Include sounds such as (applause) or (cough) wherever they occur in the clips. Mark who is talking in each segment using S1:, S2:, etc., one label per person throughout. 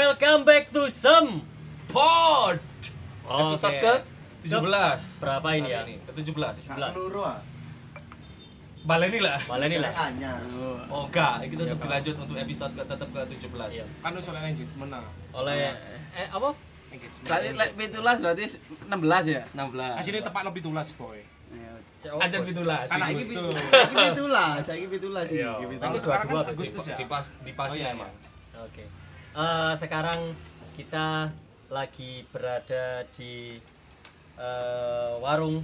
S1: Welcome back to Sem.
S2: Pod
S1: Oh, Oke.
S2: Episode ke 17
S1: Berapa ini ya?
S2: Hari Ke 17
S1: Sebelas.
S3: Nah, peluru ah.
S2: Baleni lah
S1: Malah ini lah.
S3: Hanya.
S2: Oga, kita tetap dilanjut untuk episode ke tetap ke 17
S1: Iya.
S4: kan usul lanjut menang
S1: Oleh eh apa?
S5: Berarti lek 17 berarti 16 ya?
S2: 16
S4: aslinya tepat lebih tulas boy
S2: Ajar 17
S4: karena ini
S2: Agustus.
S4: tuh
S5: Iya. (laughs) Saiki 17, saiki 17 iki.
S1: Iya.
S5: Iki
S1: Saiki sudah
S4: sekarang
S5: 17.
S1: dua
S4: kan
S1: berarti.
S4: Agustus ya
S2: Dipas, dipasin
S4: Oh, iya,
S2: emang
S1: Oke. Eh, sekarang kita lagi berada di eh, warung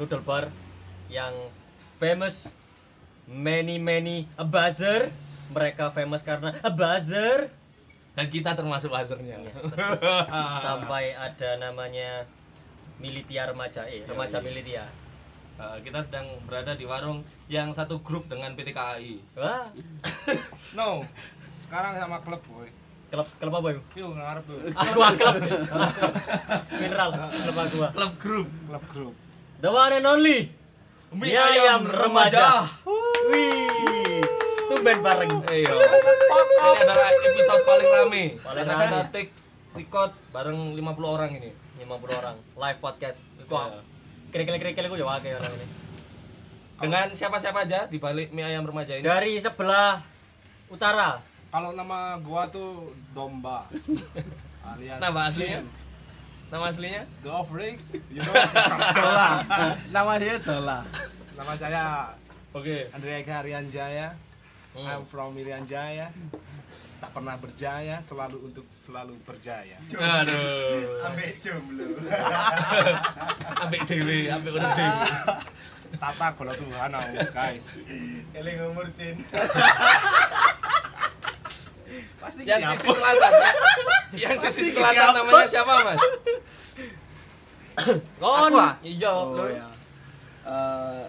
S1: noodle bar yang famous many many a buzzer. Mereka famous karena a buzzer Iya,
S2: Dan kita termasuk buzzernya (laughs)
S1: sampai ada namanya Militia remaja, eh
S2: Iya,
S1: remaja militia.
S2: Eh, Kita sedang berada di warung yang satu grup dengan PT KAI
S1: Wah,
S4: no sekarang sama klub boy
S1: klub klub apa itu?
S4: yuk Iya, ngarep tuh
S1: aqua club (laughs) mineral klub aqua
S2: Klub grup
S4: klub grup
S1: the one and only mie, ayam, remaja, wih tuh band bareng
S2: Iya Ini adalah episode paling rame
S1: Paling
S2: Karena
S1: rame.
S2: kita take record bareng 50 orang ini
S1: 50 orang live podcast kok kira kira kira kira gue jawab ya, kayak orang ini
S2: Dengan siapa-siapa aja di balik mie ayam remaja ini
S1: dari sebelah utara
S4: kalau nama gua tuh
S5: (laughs)
S4: domba alias
S2: Nama aslinya?
S4: Jim.
S2: Nama aslinya?
S4: the offering you know
S5: Dola. Nama saya Dola.
S4: nama saya
S2: Oke.
S4: Andrea Eka Rian Jaya
S1: Hmm.
S4: I'm from Irian Jaya tak pernah berjaya selalu untuk selalu berjaya
S2: Aduh.
S3: Ambek jomblo.
S2: (laughs) Ambek dewe, ambek urip dewe.
S4: (laughs) tata bola Tuhan aku, guys
S3: Eling umur Cin.
S4: pasti gitu.
S2: Yang
S4: kayak
S2: sisi selatan. ya? Yang sisi selatan namanya siapa, Mas?
S1: kon
S5: Aqua?
S2: Iya,
S5: Oh ya. Eh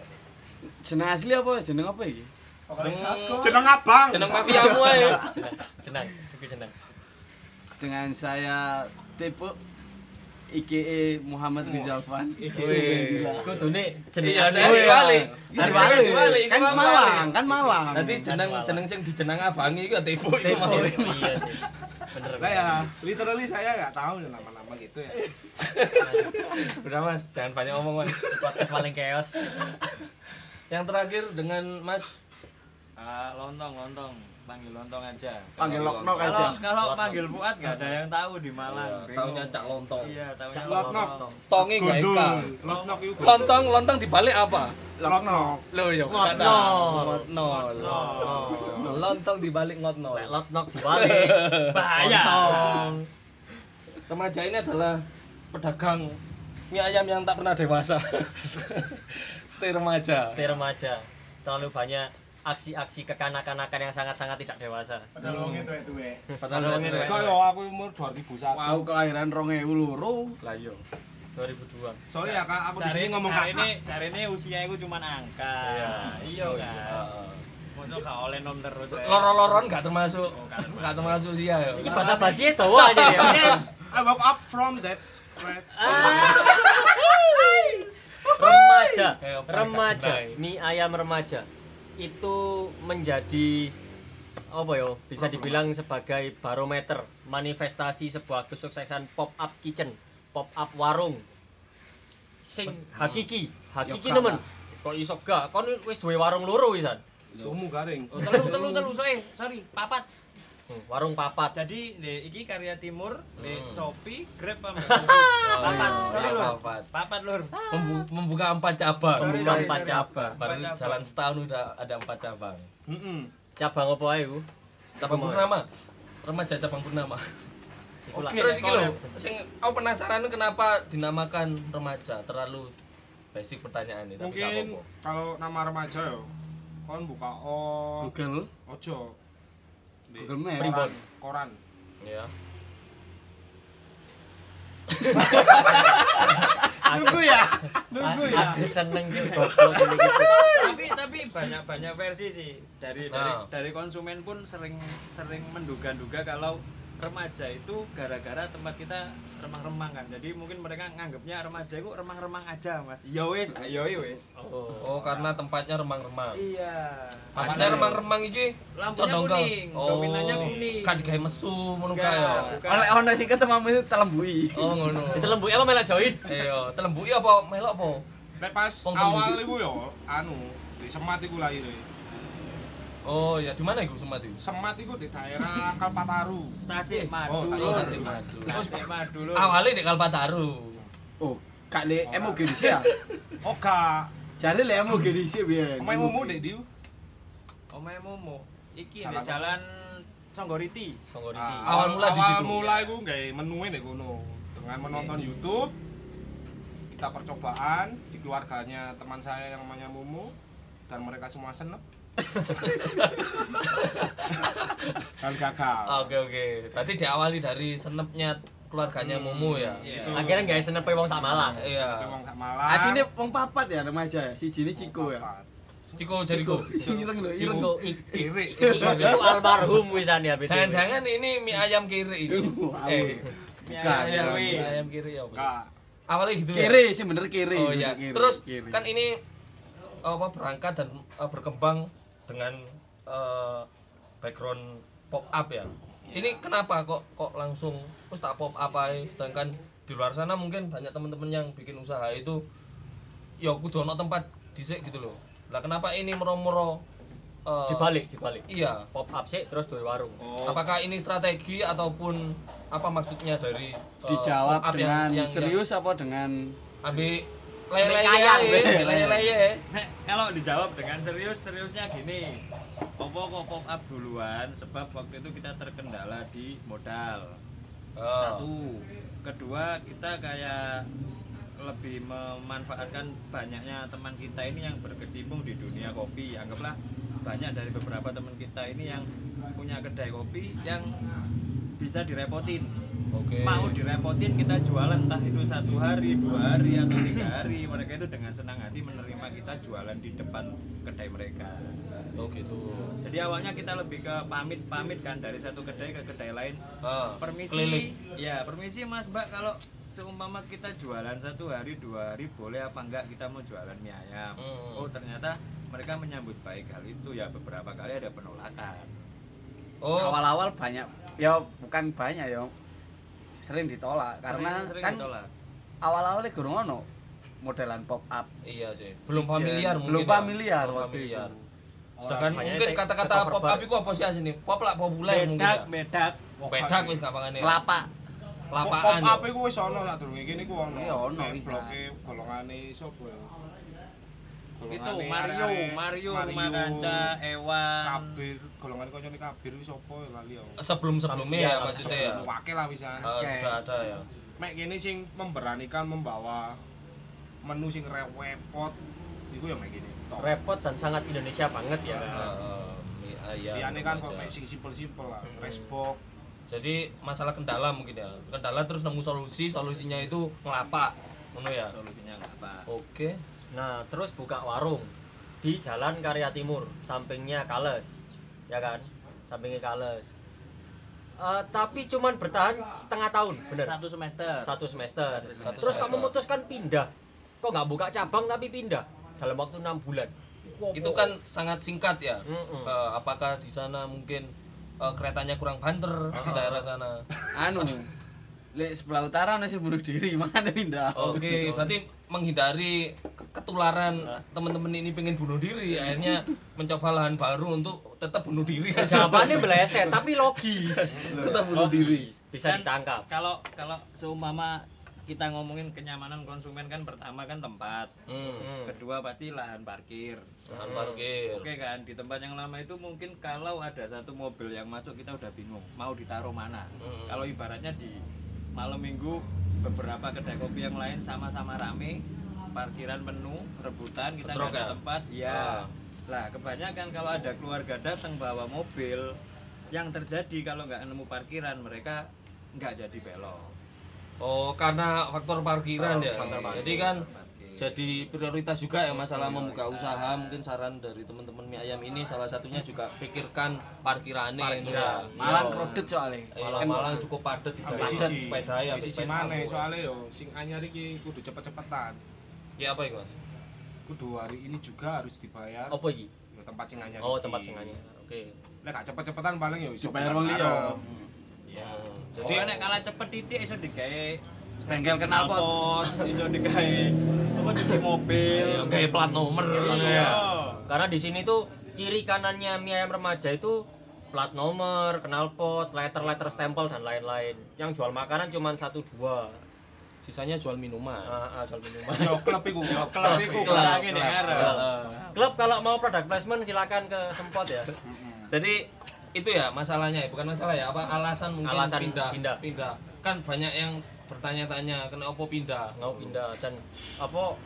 S5: jeneng asli apa? Jeneng apa iki?
S3: Pokoknya
S2: Jeneng-
S3: satu.
S4: jeneng abang
S2: Jeneng mafiamu ae.
S1: senang aku senang
S5: Dengan saya Tepo IKE E Muhammad Rizal Fan.
S2: Wih.
S5: Gila.
S1: gue tuh nih jenis
S2: Iya,
S1: asli
S5: Oh, iya.
S2: dibalik.
S5: Kan
S2: Dibalik,
S5: balik.
S2: dibalik,
S5: Kan
S2: dibalik.
S5: Mawang, kan Mawang.
S2: Nanti jeneng jeneng sing dijeneng abangi iku tepo iku
S5: Tepo.
S2: mau.
S1: iya sih bener
S4: Lah ya, literally saya nggak tahu nih nama-nama gitu ya.
S2: Udah, Mas, jangan banyak omong, Mas.
S1: podcast paling chaos
S2: Yang terakhir dengan Mas
S6: Ah, lontong, lontong. Panggil lontong aja.
S5: panggil Loknok
S2: kan,
S5: aja.
S6: Kalau kalau panggil Fuad nggak ada yang tahu di Malang.
S2: Iya, tahunya cak lontong.
S6: Iya, tahunya
S1: Cak
S4: Lontong.
S2: Tonge gak Ya, eka.
S4: Loknok itu.
S2: Lontong, lontong dibalik apa?
S4: Loknok.
S2: Loh, ya
S1: Ngotno.
S2: Ngotno.
S1: Oh,
S2: Ngotno. Lontong dibalik ngotno.
S1: lek lot nok balik
S6: Bahaya.
S2: Remaja ini adalah pedagang mie ayam yang tak pernah dewasa. (laughs) Stay remaja.
S1: Stay remaja. Terlalu banyak aksi-aksi kekanak-kanakan yang sangat-sangat tidak dewasa.
S3: Padahal wong itu itu ya.
S2: Padahal
S1: Padahal
S2: remaja.
S4: Kok yo aku umur 2001.
S5: Aku kelahiran 2002.
S2: Lah yo.
S1: 2002.
S4: Sorry ya Kak, aku di
S6: Cari
S4: sini ngomong
S6: cari ini,
S4: kakak.
S6: cari ini usia aku cuma angka. Iya kan. Masa gak oleh nom terus. eh.
S2: Loro-loron gak termasuk.
S6: Oh, gak termasuk.
S2: Gak termasuk dia ya. yo.
S1: Ini bahasa basi dawa aja ya.
S4: Yes, I woke up from that scratch.
S6: Ah.
S1: Remaja,
S2: Eh, apa
S1: remaja,
S2: yang tak
S1: mie ayam remaja itu menjadi apa yo bisa dibilang sebagai barometer manifestasi sebuah kesuksesan pop up kitchen, pop up warung. Sing hakiki, hakiki
S5: Yo,
S1: nemen. Kok iso gak? Kon wis duwe warung loro wisan.
S4: Tumu garing.
S6: Oh, telu telu telu soe, sorry, papat.
S1: Hmm, Warung papat.
S6: Jadi le, iki karya timur, le
S1: Hmm.
S6: Shopee, Grab sama
S2: Papat,
S6: Papat, sorry
S2: iya,
S6: lur.
S2: papat.
S6: Papat lur.
S2: Membu- membuka empat cabang.
S6: Sorry.
S1: Buka empat cabang.
S2: Baru
S6: Empat cabang.
S2: jalan setahun udah ada empat cabang.
S4: Heeh.
S1: Cabang apa ae ku?
S2: Cabang Purnama. Remaja cabang Purnama.
S1: Iku lah.
S2: Oke, terus iki lho, sing aku penasaran kenapa dinamakan remaja terlalu basic pertanyaan ini, tapi gak
S4: Mungkin
S2: apa-apa.
S4: kalau nama remaja yo kon buka o
S5: Google,
S4: ojo Di
S5: Google Maps.
S4: koran, koran.
S2: Ya.
S5: Nunggu ya. Nunggu ya.
S1: Ah, Aku seneng sih goblok ini gitu.
S6: tapi tapi banyak banyak versi sih dari dari
S2: Nah.
S6: dari konsumen pun sering sering menduga-duga kalau remaja itu gara-gara tempat kita remang-remang kan. Jadi mungkin mereka nganggapnya remaja itu remang-remang aja, Mas. Ya wis, ya wis.
S2: Oh, karena tempatnya remang-remang.
S6: Iya.
S2: Maksudnya
S6: Ada-
S2: remang-remang iki
S6: Lampunya
S2: condongkel. Oh,
S6: kuning, dominannya kuning.
S2: Kan digawe mesu ngono
S6: Enggak,
S2: kae ya.
S6: bukan.
S5: Oleh ono sing ketemu itu telembui.
S2: Oh, ngono.
S1: Itu lembut apa melak join?
S2: Iya, telembuki apa melok apa?
S4: Nek pas
S2: Wong
S4: awal
S2: telembik.
S4: iku ya anu di Semat iku lahir.
S2: Oh, ya di mana iku Sumat iku?
S4: Semat iku di daerah Kalpataru.
S6: Tasik
S4: Oh,
S6: Madu.
S2: Oh, Tasik
S4: Tasik
S2: Madu.
S6: Tasik Madu. Lur.
S2: Awalnya di Kalpataru.
S5: Oh, kak le emo gede sih ya.
S4: Oh, Oga,
S5: Jare le emo gede sih biyen.
S4: omae mumu dek diu.
S6: Omae Momo. Iki
S4: Jalan
S6: di jalan Songgoriti.
S1: Songgoriti.
S2: Ah. Awal mula di situ.
S4: Awal mula iku nggawe menue nek kono. Dengan menonton YouTube kita percobaan di keluarganya teman saya yang namanya Mumu dan mereka semua
S2: (laughs)
S4: senep dan gagal
S2: Ah, Oke, oke. Berarti diawali dari senepnya keluarganya Mumu ya.
S6: Iya.
S4: Itu.
S1: Akhirnya nggak senepe wong sak Malang.
S2: Iya.
S4: Tapi Hmm, wong gak malang
S5: Asine wong papat ya remaja. Siji ini Ciko ya.
S2: Ciko Jeriko.
S5: Sing ireng lho, ireng.
S1: Cingko ik ik
S4: Irik.
S1: ik- itu almarhum wisan ya BTW.
S2: Jangan-jangan ini mie ayam
S5: (laughs)
S2: kiri ini.
S5: Wow.
S2: Eh,
S5: Bukan,
S2: mie ayam,
S5: bukan.
S2: mie ayam kiri ya. apa?
S4: Gak.
S2: Awalnya gitu ya.
S5: Kiri sih bener kiri.
S2: Oh
S5: bener
S2: iya.
S5: kiri,
S2: Terus
S5: kiri.
S2: kan ini apa berangkat dan eh, berkembang dengan eh, background pop up ya. Ini kenapa kok kok langsung terus tak pop up aja sedangkan di luar sana mungkin banyak teman-teman yang bikin usaha itu ya kudu ono tempat dhisik gitu loh. Lah kenapa ini mero-mero eh,
S1: Dibalik, dibalik.
S2: Iya.
S1: Pop up sih terus duwe warung.
S5: Oh.
S2: Apakah ini strategi ataupun apa maksudnya dari
S5: Oh,
S2: eh,
S5: dijawab
S2: pop up yang-
S5: dengan
S2: yang- yang-
S5: serius apa dengan
S2: ambil lele
S1: kaya,
S5: weh.
S2: lele
S6: Nek, kalau dijawab dengan serius, seriusnya gini. Popo kok pop up duluan sebab waktu itu kita terkendala di modal.
S2: Oh.
S6: Satu. Kedua, kita kayak lebih memanfaatkan banyaknya teman kita ini yang berkecimpung di dunia kopi. Anggaplah banyak dari beberapa teman kita ini yang punya kedai kopi yang bisa direpotin.
S2: Oke.
S6: Mau direpotin kita jualan entah itu satu hari, dua hari atau tiga hari. Mereka itu dengan senang hati menerima kita jualan di depan kedai mereka.
S2: Oh gitu.
S6: Jadi awalnya kita lebih ke pamit-pamit kan dari satu kedai ke kedai lain.
S2: Ah,
S6: permisi,
S2: keliling.
S6: ya permisi Mas Mbak kalau seumpama kita jualan satu hari dua hari boleh apa enggak kita mau jualan mie ayam.
S2: Hmm.
S6: Oh ternyata mereka menyambut baik hal itu ya beberapa kali ada penolakan.
S2: Oh,
S5: awal-awal banyak ya bukan banyak ya sering ditolak karena
S6: Sering- sering
S5: kan
S6: ditolak.
S5: awal-awalnya gurung ono modelan pop up
S2: iya sih. Belum familiar mungkin.
S5: Belum
S2: ya.
S5: familiar
S2: Belum
S5: waktu
S2: familiar.
S5: itu.
S2: Sedangkan
S1: Orang
S2: mungkin
S1: banyak
S2: kata-kata
S1: take- take
S2: pop
S1: over
S2: up
S1: bar.
S2: iku apa sih asine? Pop lah populer mungkin.
S6: Bedak,
S2: ya.
S6: bedak.
S2: Bedak wis kapangane.
S5: (laughs) lapak
S2: Lapaan.
S4: Pop up iku wis ono sak durunge kene iku ono.
S5: Iya, ono,
S4: Nek
S5: bisa.
S4: bloke golongane sapa ya? Golongane
S6: itu Mario,
S4: arek-arek
S6: Mario, Makanca, Ewan.
S4: Kabir, golongane kancane Kabir wis sapa ya lali ya.
S2: Sebelum-sebelumnya ya maksudnya ya.
S4: Wakil lah bisa.
S2: Ah, Sudah ada ya.
S4: Mek kene sing memberanikan membawa menu sing repot iku ya mek kene. tok.
S1: Repot dan sangat Indonesia banget ya.
S2: Ah, ah, mie ayam,
S4: Liyane kan kok
S2: aja.
S4: mek sing simpel-simpel lah, resbok.
S2: iya, Jadi masalah kendala mungkin ya. Kendala terus nemu solusi, solusinya itu ngelapak. Ngono ya.
S6: Solusinya enggak apa.
S2: Oke.
S1: Nah, terus buka warung di Jalan Karya Timur, sampingnya Kales. Ya kan? Sampingnya Kales. Eh, tapi cuman bertahan setengah tahun, bener?
S6: Satu semester.
S1: Satu semester.
S2: semester.
S1: Terus kamu memutuskan pindah. Kok nggak buka cabang tapi pindah dalam waktu enam bulan.
S2: itu kan sangat singkat ya.
S1: Mm-mm.
S2: Eh, apakah di sana mungkin eh, keretanya kurang banter di daerah sana?
S5: anu lek sebelah utara ono sing bunuh diri (laughs) makanya pindah
S2: Oke, berarti menghindari ke- ketularan teman-teman ini pengen bunuh diri, akhirnya mencoba lahan baru untuk tetap bunuh diri.
S1: Jawabannya beleset tapi logis.
S2: tetap bunuh diri.
S1: Bisa
S6: Dan
S1: ditangkap.
S6: Kalau kalau seumpama kita ngomongin kenyamanan konsumen kan pertama kan tempat,
S2: Hmm,
S6: kedua pasti lahan parkir.
S2: lahan parkir.
S6: Oke kan di tempat yang lama itu mungkin kalau ada satu mobil yang masuk kita udah bingung mau ditaruh mana.
S2: Mm.
S6: Kalau ibaratnya di malam minggu beberapa kedai kopi yang lain sama-sama rame, parkiran penuh, rebutan kita nggak
S2: Bentrok
S6: ada
S2: ya?
S6: tempat.
S2: Ah.
S6: Ya. Lah kebanyakan kalau ada keluarga datang bawa mobil, yang terjadi kalau nggak nemu parkiran mereka nggak jadi belok.
S2: Oh, karena faktor parkiran ya.
S1: faktor parkir.
S2: Jadi kan
S6: Parkir.
S2: jadi prioritas juga ya masalah membuka usaha mungkin saran dari teman-teman mie ayam ini salah satunya juga pikirkan parkirannya itu ya.
S5: Malang
S2: Iya.
S5: krodet soalnya.
S2: Eh, kan Malang cukup padat di
S4: Ambil
S2: padat sepeda ya
S4: Ambil siji
S2: sepeda
S4: mana
S2: aku.
S4: soalnya yo sing anyar iki kudu cepet-cepetan.
S2: ya apa itu mas
S4: Kudu hari ini juga harus dibayar.
S1: Apa iki?
S4: Yo, tempat sing anyar.
S1: Oh,
S4: iki.
S1: tempat sing anyar. Oke.
S4: Lek gak cepet-cepetan paling yo iso
S5: Dibayar
S4: bulan
S5: wong liya.
S4: Arab.
S6: ya
S2: Jadi-
S6: jadi nek kalah cepet titik iso digawe
S5: Stengkel knalpot.
S6: knalpot, (laughs) iso digawe apa cuci mobil
S2: ya kayak plat nomor gitu
S6: Iya.
S2: ya
S1: Karena di sini tuh kiri kanannya mie ayam remaja itu plat nomor, knalpot, letter-letter stempel dan lain-lain. Yang jual makanan cuma satu dua.
S2: sisanya jual minuman
S1: Ah, ah, jual minuman.
S2: (laughs)
S4: Yo klub iku. Yo
S6: klub iku kalange
S4: ya,
S6: nek arep
S1: Klub kalau mau product placement silakan ke Sempot ya.
S2: jadi itu ya masalahnya ya bukan masalah ya apa alasan mungkin
S1: Alasan
S2: pindah
S1: pindah.
S2: kan banyak yang bertanya-tanya kena opo pindah
S1: Mau pindah dan apa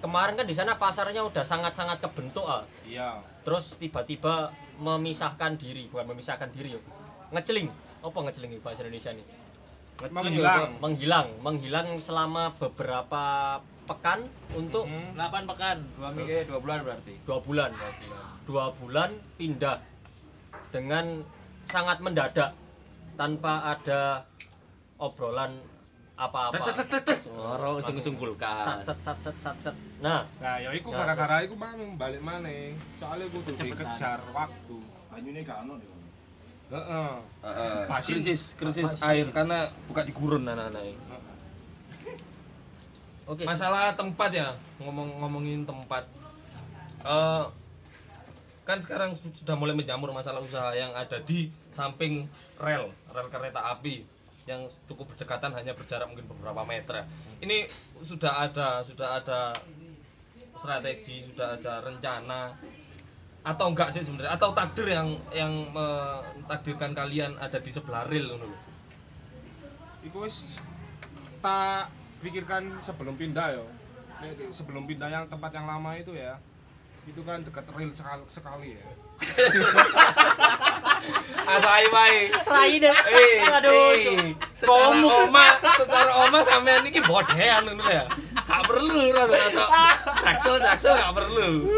S1: kemarin kan di sana pasarnya udah sangat-sangat kebentuk ah.
S4: Iya.
S1: Terus tiba-tiba memisahkan diri, bukan memisahkan diri yo. Ngeceling. Apa ngeceling ini bahasa Indonesia nih?
S4: Menghilang.
S1: Menghilang, menghilang selama beberapa pekan untuk
S2: Mm-hmm.
S4: Hmm.
S6: 8 pekan, 2 minggu, eh, 2 bulan berarti.
S1: dua bulan dua bulan pindah dengan sangat mendadak tanpa ada obrolan apa-apa
S2: Loro usung-usung
S1: sat
S2: kulkas.
S1: sat sat sat sat sat. nah
S4: Nah, yo iku
S1: Ya,
S4: gara-gara iku mang balik maneh. Soalnya kudu dikejar waktu.
S3: Banyune gak ono deh.
S4: Heeh. Basin.
S2: krisis krisis air karena buka di gurun anak-anak ini.
S1: oke
S2: masalah tempat ya ngomong ngomongin tempat Eh, kan sekarang su- sudah mulai menjamur masalah usaha yang ada di samping rel rel kereta api yang cukup berdekatan hanya berjarak mungkin beberapa meter ya. ini sudah ada sudah ada strategi sudah ada rencana atau enggak sih sebenarnya atau takdir yang yang mentakdirkan kalian ada di sebelah rel ngono lho.
S4: Iku wis tak pikirkan sebelum pindah yo. Nek di- Sebelum pindah yang tempat yang lama itu ya. Itu kan dekat real sekali, sekali ya.
S2: Asai wae.
S1: Rai deh.
S2: Eh,
S1: (laughs) Aduh,
S2: eh,
S1: Cuk.
S2: secara
S1: Komuk.
S2: oma, secara oma sampean iki bodehan ngono ya. Gak perlu rata-rata. Jaksel, jaksel gak perlu.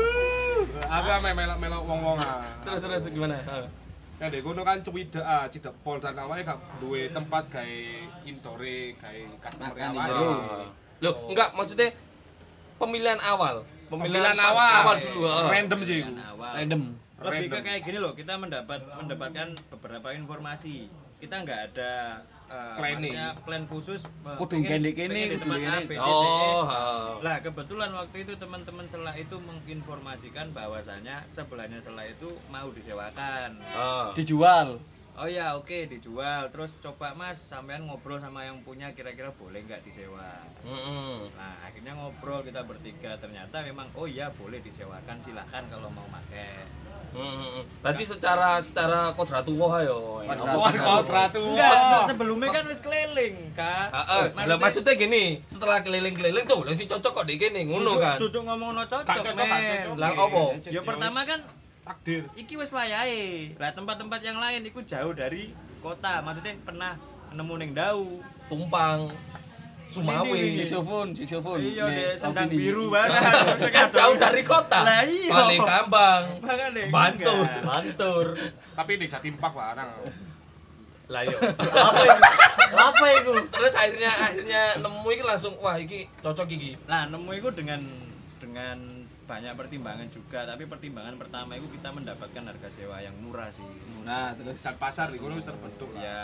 S4: Aku ame melok-melok wong-wongan.
S2: Terus terus gimana?
S4: Nah, di kono kan cewida, ah, cedek pol dan awalnya gak duwe tempat gawe intore, gawe customer
S5: Makan
S4: awake.
S5: intore.
S2: Loh, enggak maksudnya pemilihan awal. Pemilihan,
S4: Pemilihan
S2: pos
S4: awal.
S2: awal dulu. heeh.
S4: Random sih iku.
S6: Kan awal.
S5: Random.
S6: Lebih ke
S4: Random.
S6: kayak gini loh, kita mendapat mendapatkan beberapa informasi. Kita nggak ada eh,
S4: Planning.
S6: maksudnya plan khusus eh,
S5: Kudu gitu ya. gini,
S6: pengen-
S5: gini, kudu
S6: pengen di tempat A,
S5: gini.
S6: B, C, D, E.
S2: Oh, heeh.
S6: Lah kebetulan waktu itu teman-teman selah itu menginformasikan bahwasanya sebelahnya selah itu mau disewakan.
S2: Heeh.
S5: Dijual.
S6: Oh ya oke dijual. Terus coba mas sampean ngobrol sama yang punya kira-kira boleh nggak disewa.
S2: Mm-mm.
S6: Nah akhirnya ngobrol kita bertiga ternyata memang oh ya boleh disewakan silahkan kalau mau pakai.
S2: Mm-mm. Berarti secara secara ya, kodratuwah yo.
S4: Wah, kontrak tuh.
S6: Enggak, sebelumnya kan wis keliling, Kak.
S2: Heeh. Lah maksudnya gini, setelah keliling-keliling tuh, lah si cocok kok di kene ngono
S6: duduk,
S2: kan.
S6: duduk ngomong no cocok,
S4: Gak cocok, gak
S6: men.
S4: cocok.
S2: Lah, opo?
S6: Ya pertama kan
S4: takdir.
S6: iki wis wayahe. Lah tempat-tempat yang lain iku jauh dari kota. Maksudnya pernah nemu ning Dau.
S2: Tumpang, Sumawe,
S5: Iya.
S6: Ini, ini.
S5: Saxophone,
S2: Oh,
S5: saxophone.
S6: Iya,
S5: Nek,
S6: deh, sendang
S5: opini.
S6: biru
S2: (laughs)
S6: banget.
S2: kan jauh dari kota.
S6: Lah iya.
S2: Balik Kambang,
S6: Makanya,
S2: Bantul.
S6: enggak.
S1: bantur
S4: Tapi di Jatim Park larang.
S2: Lah iya.
S1: apa itu apa itu
S2: Terus akhirnya akhirnya nemu iki langsung wah iki cocok iki.
S6: Nah, nemu itu dengan dengan banyak pertimbangan juga, tapi pertimbangan pertama itu kita mendapatkan harga sewa yang murah sih.
S4: Nah, terus dan pasar di kono wis terbentuk lah.
S6: Ya,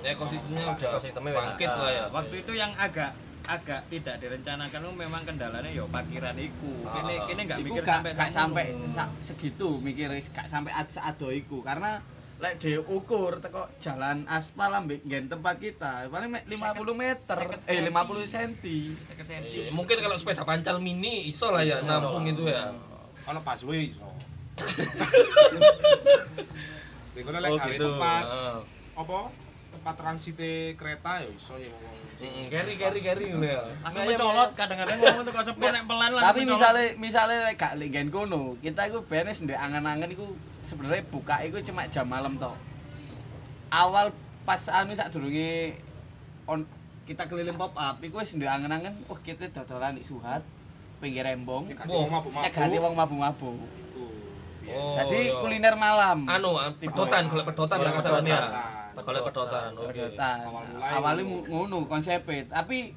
S6: eh,
S2: Ekosistemnya udah
S1: Ekosistemnya
S2: bangkit
S1: udah.
S2: lah ya.
S6: waktu itu yang agak agak tidak direncanakan itu memang kendalanya ya parkiran iku. Kene kene nggak
S5: Iku
S6: mikir
S5: gak
S6: sampai
S5: gak
S6: sana.
S5: sampai sa- segitu mikir gak sampai ad seado iku karena lek dhewe ukur teko jalan aspal ambek nggen tempat kita paling mek 50 meter eh 50 cm.
S6: Seket senti.
S2: Iya, Mungkin kalau sepeda pancal mini iso lah ya nampung itu ya.
S4: Ono busway iso. Di kono
S2: Oh
S4: lek gawe
S2: gitu.
S4: tempat
S1: Ah.
S2: Heeh.
S1: Eh,
S4: apa? Tempat transit kereta ya iso ya wong.
S2: Mm-mm, Carry carry carry gitu ya.
S6: Langsung
S2: Saya
S6: mencolot kadang-kadang ngomong tuh kok sepuluh nek pelan Kan langsung
S5: Tapi
S6: mencolot.
S5: misalnya misalnya lek gak lek nggen kono, kita iku benes ndek angen-angen iku sebenarnya buka iku cuma jam malam tok. Awal pas anu sadurunge on kita keliling pop up iku wis ndek angen-angen oh kita dodolan di Suhat. pinggir rembong
S4: Nyegati
S2: Wah,
S4: wong mabuk-mabuk.
S5: nyegati wong mabuk-mabuk
S4: Tuh.
S2: Oh,
S5: jadi
S2: iya.
S5: kuliner malam
S2: anu ah, pedotan golek pedotan lah kasarane ya
S4: pedotan.
S2: golek pedotan oke
S5: Pedotan.
S4: Awal mulai
S5: awalnya
S4: ngono.
S5: mu- ngono konsepnya tapi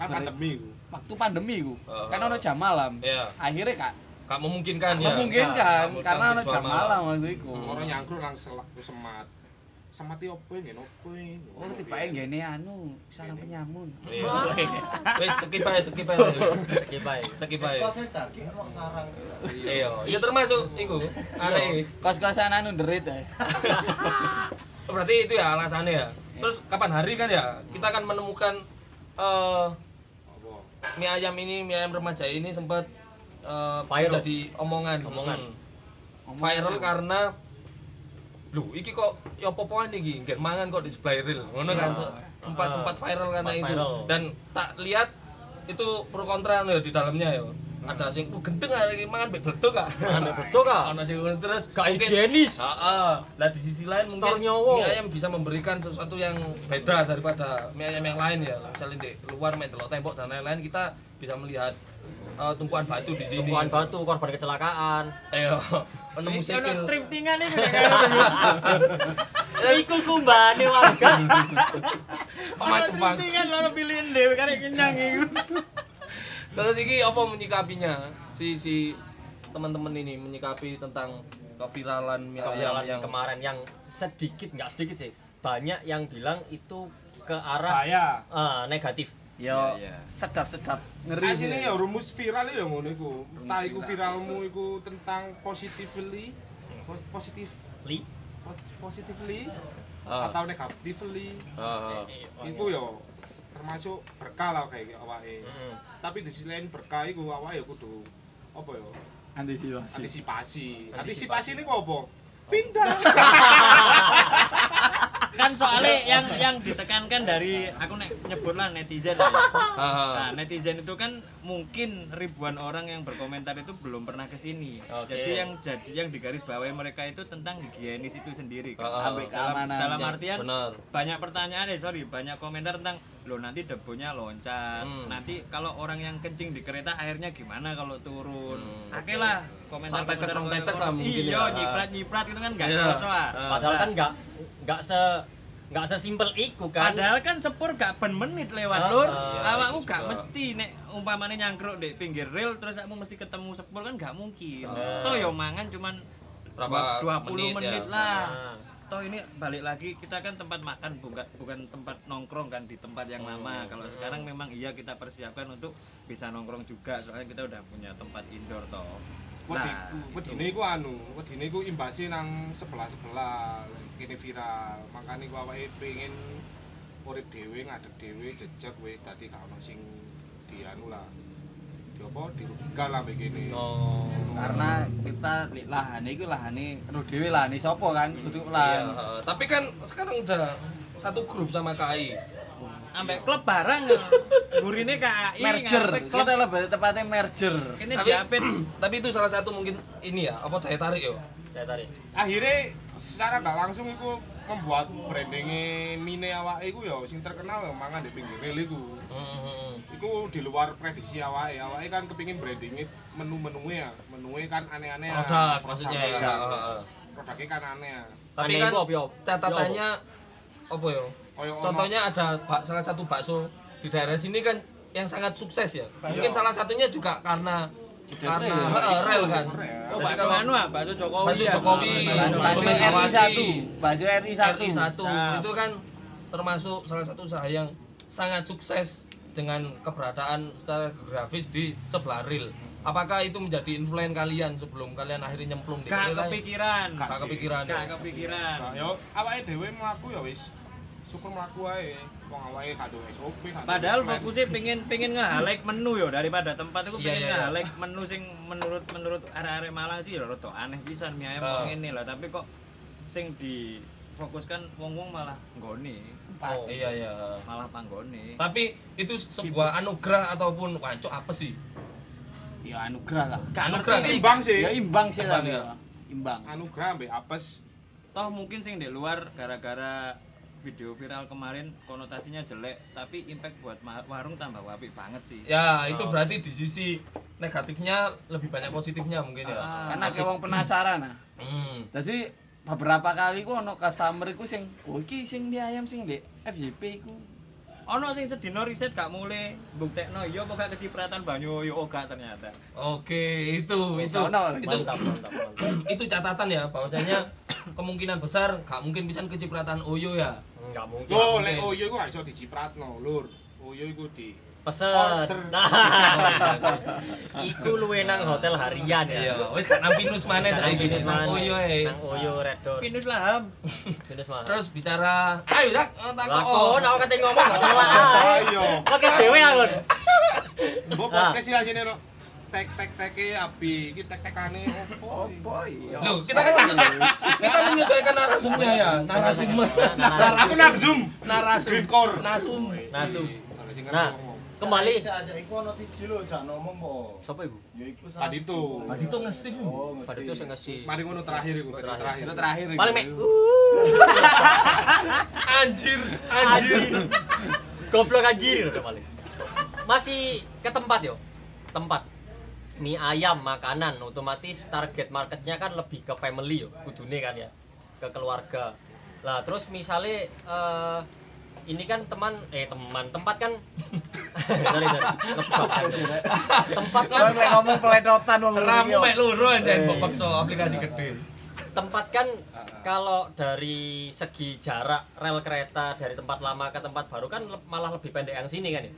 S4: Kan pandemi ku.
S5: waktu pandemi ku
S2: Heeh.
S5: kan ono jam malam
S2: Iya.
S5: akhirnya kak
S2: gak memungkinkan ya
S5: memungkinkan
S2: Gak
S5: karena ono
S2: dijual
S5: jam malam Hmm. waktu itu
S4: Orang nyangkruk langsung laku semat. Semat iki opo ngene opo iki?
S5: oh tiba-tiba gini anu sarang penyamun
S2: Iya. wis skip ae skip ae
S1: Oke, baik.
S2: skip ae
S3: Kok saya jaki kok sarang.
S2: iya ya termasuk iku arek iki.
S5: kos-kosan anu eh. derit (laughs) ya
S2: berarti itu ya alasannya ya
S5: Iya.
S2: terus kapan hari kan ya kita akan menemukan eh
S4: Apa?
S2: mie ayam ini mie ayam remaja ini sempat eh,
S1: Viral.
S2: jadi omongan omongan viral karena lu iki kok ya popoan iki nggak mangan kok di sebelah ril ngono kan se- sempat
S1: Ah.
S2: sempat viral karena
S1: Sempat
S2: itu
S1: viral.
S2: dan tak lihat itu pro kontra ya di dalamnya ya
S1: Hmm.
S2: ada sing "Uh, gendeng hari ini mangan bek bledok ah
S1: Ame betul kak.
S2: ana sing ngono terus
S1: Gak
S2: mungkin-
S1: higienis.
S2: Heeh. Lah di sisi lain mungkin
S1: Store nyowo.
S2: mie ayam bisa memberikan sesuatu yang beda daripada mie ayam yang lain ya. Misalnya di luar main telok tembok dan lain-lain kita bisa melihat eh, tumpuan batu di sini.
S1: Tumpuan batu korban kecelakaan.
S2: Ayo, (laughs) penemu
S6: Iki ono
S2: sikil.
S6: driftingan ini
S1: Iku kumbane warga.
S2: Omah Jepang.
S5: malah pilihin deh
S6: kan
S5: karena kenyang itu
S2: Terus iki apa menyikapinya? Si si teman-teman ini menyikapi tentang keviralan mie ayam
S1: Kebetulan
S2: yang
S1: kemarin yang sedikit nggak sedikit sih. Banyak yang bilang itu ke arah
S4: Bahaya.
S1: eh, negatif.
S5: yo
S6: Iya, iya.
S5: sedap-sedap ngeri
S4: Asline
S5: sih.
S4: ya rumus viral ya ngono iku.
S6: Rumus
S4: Entah iku
S6: viral.
S4: viralmu iku tentang positively po- positif
S1: Li.
S4: po- positively
S2: Ah.
S4: atau negatively
S2: Ah, ah.
S4: itu yo termasuk berkah lah kayak awake.
S1: Mm.
S4: Tapi di sisi lain berkah iku awake ya kudu apa ya?
S5: antisipasi
S4: Antisipasi.
S1: Antisipasi.
S4: Antisipasi ini kok apa? Pindah.
S6: kan soalnya yang yang ditekankan dari aku nek nyebut lah
S2: (laughs)
S6: netizen ya.
S2: Ah, ah.
S6: Nah, netizen itu kan mungkin ribuan orang yang berkomentar itu belum pernah ke sini.
S1: Oke.
S6: Jadi yang jadi yang digaris bawahi mereka itu tentang higienis itu sendiri kan.
S2: Ah, ah. Ambil
S6: dalam,
S5: keamanan.
S6: dalam artian
S2: Benar.
S6: banyak pertanyaan eh sorry banyak komentar tentang lo nanti debunya loncat
S2: Hmm.
S6: nanti kalau orang yang kencing di kereta airnya gimana kalau turun Oke lah komentar
S2: Hmm. Sampai ke serong tetes lah mungkin
S6: iya
S2: ya. Ah.
S6: nyiprat nyiprat itu kan nggak
S2: Iya.
S6: kerasa ah.
S2: Ah.
S1: Padahal
S6: Nah,
S1: kan nggak nggak se nggak sesimpel iku kan.
S6: Padahal kan sepur gak ben menit lewat
S1: Ah,
S6: lur.
S1: ah.
S6: Awakmu gak
S2: juga.
S6: mesti nek umpamane nyangkruk di pinggir rel terus kamu mesti ketemu sepur kan gak mungkin.
S1: Ah.
S6: Toh yo mangan cuman
S2: Berapa
S6: dua- 20 menit,
S2: menit ya?
S6: lah.
S1: Ah.
S6: Toh ini balik lagi kita kan tempat makan bukan bukan tempat nongkrong kan di tempat yang lama. Kalau sekarang memang iya kita persiapkan untuk bisa nongkrong juga soalnya kita udah punya tempat indoor toh. Nah,
S4: Wedi- Wedine iku anu, wedine iku imbase nang sebelah-sebelah kene viral. Makane ku awake pengen urip dhewe, ngadeg dhewe, jejeg wis dadi gak ono sing dianu lah. Di apa dirugikan lah mbek kene.
S1: Oh.
S5: karena kita li- lahane iku lahane aduh dhewe lahane sapa kan kudu
S2: Iya,
S5: lan
S2: ah. tapi kan sekarang udah satu grup sama KAI.
S6: ambek klub barang gurine KAI
S5: merger
S6: ngarepe klub
S5: kita lebih tepatnya merger
S6: ini
S2: Tapi,
S6: diapit
S2: (clears throat) tapi itu salah satu mungkin ini ya, apa daya tarik yo.
S1: Ya tadi.
S4: Akhirnya secara gak langsung iku membuat brandinge mine awake iku ya sing terkenal ya mangan di pinggir rel iku.
S2: Hmm,
S4: Iku di luar prediksi awake. Awake kan kepingin brandinge menu-menue ya. Menue kan
S2: hmm.
S4: aneh-aneh. ya.
S2: Produk maksudnya ya.
S4: Produk.
S2: Ah, ah, ah.
S4: Produknya kan aneh.
S2: Tapi
S1: Aneh
S2: kan
S1: iku apa, yo?
S2: catatannya apa yo?
S4: Kaya ono-
S2: Contohnya ada bak- salah satu bakso di daerah sini kan yang sangat sukses ya. Mungkin salah satunya juga karena karena eh, rel kan.
S6: Oh, bakso anu ah, bakso Jokowi.
S2: Bakso
S6: ya.
S2: Jokowi.
S6: Bakso
S2: Bakso
S5: Bakso RI
S2: Megawati.
S5: satu, bakso RI satu.
S2: RI 1
S6: Siap.
S2: itu kan termasuk salah satu usaha yang sangat sukses dengan keberadaan secara geografis di sebelah ril. Apakah itu menjadi influen kalian sebelum kalian akhirnya nyemplung di rel?
S6: Gak kepikiran.
S2: Gak kepikiran.
S6: Gak kepikiran.
S4: Nah, yo awake dhewe mlaku ya wis. Syukur mlaku ae. Wong awake gak do SOP gak do
S6: Padahal
S4: plan.
S6: fokusnya pengen pengen nge-highlight menu yo daripada tempat itu
S2: Iya, iya,
S6: pengen
S2: iya.
S6: nge-highlight menu sing menurut menurut arek-arek Malang sih lho rada aneh pisan mie ayam
S2: Oh.
S6: kok ngene lah, tapi kok sing difokuskan wong-wong malah nggone,
S2: Oh, iya iya.
S6: malah panggone.
S2: Tapi itu sebuah anugerah ataupun wancuk apa sih?
S5: ya anugerah lah
S6: Gak
S2: Anugerah
S6: ngerti sih.
S4: imbang sih.
S5: ya imbang sih
S2: Imbang
S5: tapi
S2: ya.
S5: ya. imbang
S4: Anugerah mbek apes.
S6: Toh mungkin sing di luar gara-gara video viral kemarin konotasinya jelek tapi impact buat ma- warung tambah wapi banget sih
S2: Ya, itu berarti di sisi negatifnya lebih banyak positifnya mungkin ya.
S6: Ah.
S5: Karena kayak wong penasaran nah.
S2: Hmm.
S5: Jadi beberapa kali ku ono customer ku sing, "Oh iki sing di ayam sing di FJP ku."
S6: ono sing sedino riset gak mulai buktekno iya kok gak kecipratan banyu yo oh gak ternyata
S2: Oke, itu itu
S5: Sono.
S2: itu
S1: mantap mantap mantap
S2: (clears throat) itu catatan ya bahwasanya kemungkinan besar gak mungkin bisa kecipratan Oyo ya.
S1: nggak mungkin
S4: Yo,
S5: iya.
S4: lek oyo iku gak iso dicipratno, Lur. Oyo iku di
S1: peset
S4: Order.
S1: nah iku luwe nang hotel harian ya
S2: Iya, wis gak nang pinus maneh
S1: Nang
S2: saiki
S1: Pinus
S2: nang
S1: Manis.
S2: Oyo ae.
S1: nang oyo red door
S6: pinus lah ham
S1: pinus mana
S2: Terus bicara, ayo dak
S1: lakon
S2: takon.
S1: aku kate ngomong gak salah ah.
S4: Ayo.
S1: podcast dhewe aku
S4: Mbok
S5: Ah.
S4: podcast iki ajene no. Tek tek teke abi, iki tek tekane opo? iki?
S5: Opo iya.
S2: Loh, kita kan menyesuaikan, kita menyesuaikan narasumnya ya, narasumnya.
S1: Nah,
S4: Aku nafsum.
S2: Narasum.
S4: Gripkor.
S2: Nasum.
S1: Nasum.
S4: Kalau sing
S1: Nah.
S4: ngerti ngomong.
S1: kembali
S3: Saja iku ono siji lho jak ngomong kok.
S1: siapa iku
S3: Ya iku
S5: Nah.
S4: Padito.
S2: Padito nge-shift.
S3: Oh,
S1: pada itu sing ngasih
S4: Nah, Mari ngono terakhir iku,
S1: Terakhir.
S4: terakhir.
S5: Itu terakhir.
S1: paling mek
S5: iku.
S2: Anjir, anjir.
S1: goblok anjir udah paling masih ke tempat yo tempat mie ayam makanan otomatis target marketnya kan lebih ke family yo kudune kan ya ke keluarga lah terus misalnya eh, ini kan teman eh teman tempat kan (laughs) sorry sorry Tempat, anjir. tempat kan
S5: Orang lek ngomong peledotan wong
S2: Ramu mek loro anjay mbok paksa aplikasi gede.
S1: tempat kan kalau dari segi jarak rel kereta dari tempat lama ke tempat baru kan le- malah lebih pendek yang sini kan ya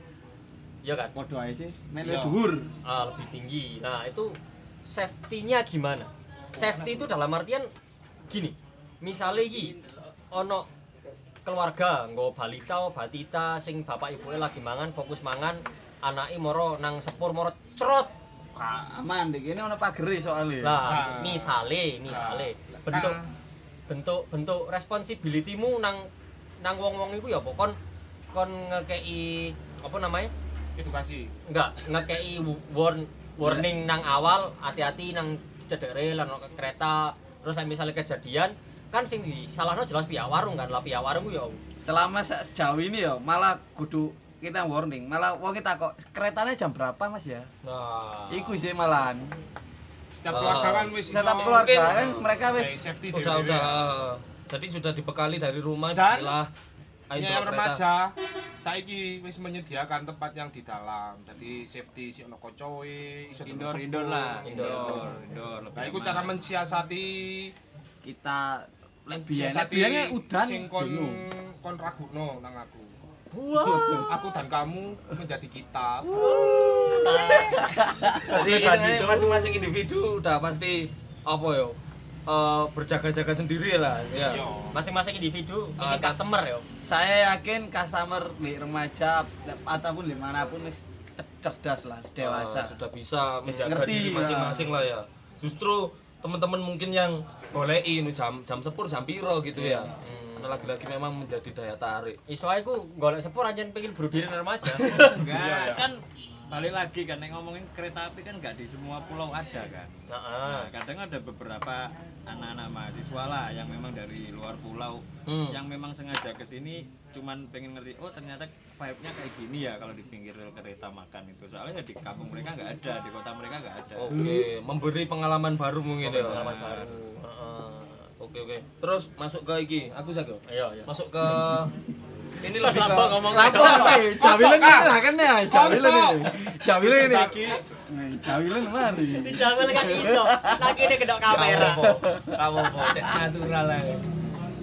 S1: iya kan
S5: Podo ae sih. Mek
S1: Iya.
S5: dhuwur.
S1: Ah, lebih tinggi. Nah, itu safety-nya gimana? Safety itu dalam artian gini. Misalnya iki ono keluarga nggo balita o batita sing bapak ibuke lagi mangan fokus mangan anake moro nang sepur moro cerot
S5: Aman iki ini ono pagere soalnya.
S1: lah misale misale bentuk bentuk bentuk responsibility-mu nang nang wong-wong iku ya apa kon kon ngekei apa namanya
S4: Edukasi.
S1: enggak ngekei warn warning nang awal hati-hati nang cedere lan ono kereta terus nek misalnya kejadian kan sing disalahno jelas pihak warung kan lah pihak warung ku ya
S5: Selama se- sejauh ini ya malah kudu kita warning malah wong kita kok keretanya jam berapa mas ya
S1: nah
S5: iku sih malahan
S4: Setiap
S1: Oh.
S4: keluarga kan wis
S5: setiap
S4: iso-
S5: Ah. keluarga
S2: mungkin-
S5: kan mereka
S4: Dari
S5: wis
S4: safety
S2: Udah
S4: dhewe-dhewe.
S2: udah. Jadi sudah dibekali dari rumah
S4: Dan-
S2: bismillah. Ayo
S4: Ini yang
S2: bawa kereta.
S4: Iya, remaja saiki wis menyediakan tempat yang di dalam. Jadi safety si ono kocoe, iso
S6: indoor
S4: terus-
S6: indoor lah
S1: Indoor.
S6: indoor indoor lebih
S4: Nah, iku
S6: aman.
S4: cara mensiasati
S5: kita lebih enak
S4: mensiasati
S5: biasanya udan
S4: sing kon
S5: bingung.
S4: kon raguno nang aku.
S1: wah
S4: (laughs) Aku dan kamu menjadi kita.
S2: Jadi ini masing-masing individu udah pasti apa yo? eh, berjaga-jaga sendiri lah ya.
S1: Iya.
S4: Yo.
S1: masing-masing individu ini
S2: Ah, tas-
S1: customer ya
S5: saya yakin customer di remaja ataupun dimanapun wis cer- cerdas lah wis dewasa
S2: Eh, sudah bisa
S5: Wis
S2: menjaga
S5: ngerti,
S2: diri
S5: ya.
S2: masing-masing lah ya. Justru teman-teman mungkin yang bolehin jam jam sepur jam piro gitu ya. Karena lagi-lagi memang menjadi daya tarik.
S1: iso ae ku golek sepur anjen pengen berdiri nang remaja
S6: enggak kan balik lagi kan yang ngomongin kereta api kan nggak di semua pulau ada kan
S1: heeh
S6: Nah, kadang ada beberapa anak-anak mahasiswa lah yang memang dari luar pulau
S2: Hmm.
S6: yang memang sengaja ke sini cuman pengen ngerti oh ternyata vibe-nya kayak gini ya kalau di pinggir rel kereta makan itu soalnya di kampung mereka nggak ada di kota mereka nggak ada
S2: Oke, memberi pengalaman baru mungkin ya.
S1: pengalaman baru heeh
S2: Oke oke. Terus masuk ke iki, aku jago.
S1: ayo ayo
S2: Masuk
S1: (laughs)
S2: ke ini lebih
S1: Kenapa
S2: ke
S1: Iya, ngomong
S5: Apa ini? Jawilan ini lah kan ya, jawilan ini. Jawilan ini.
S4: Saki
S5: Nah, jawilan mari.
S1: dijamel kan iso lagi ini kedok kamera
S2: Kamu po, kamu po, cek natural aja.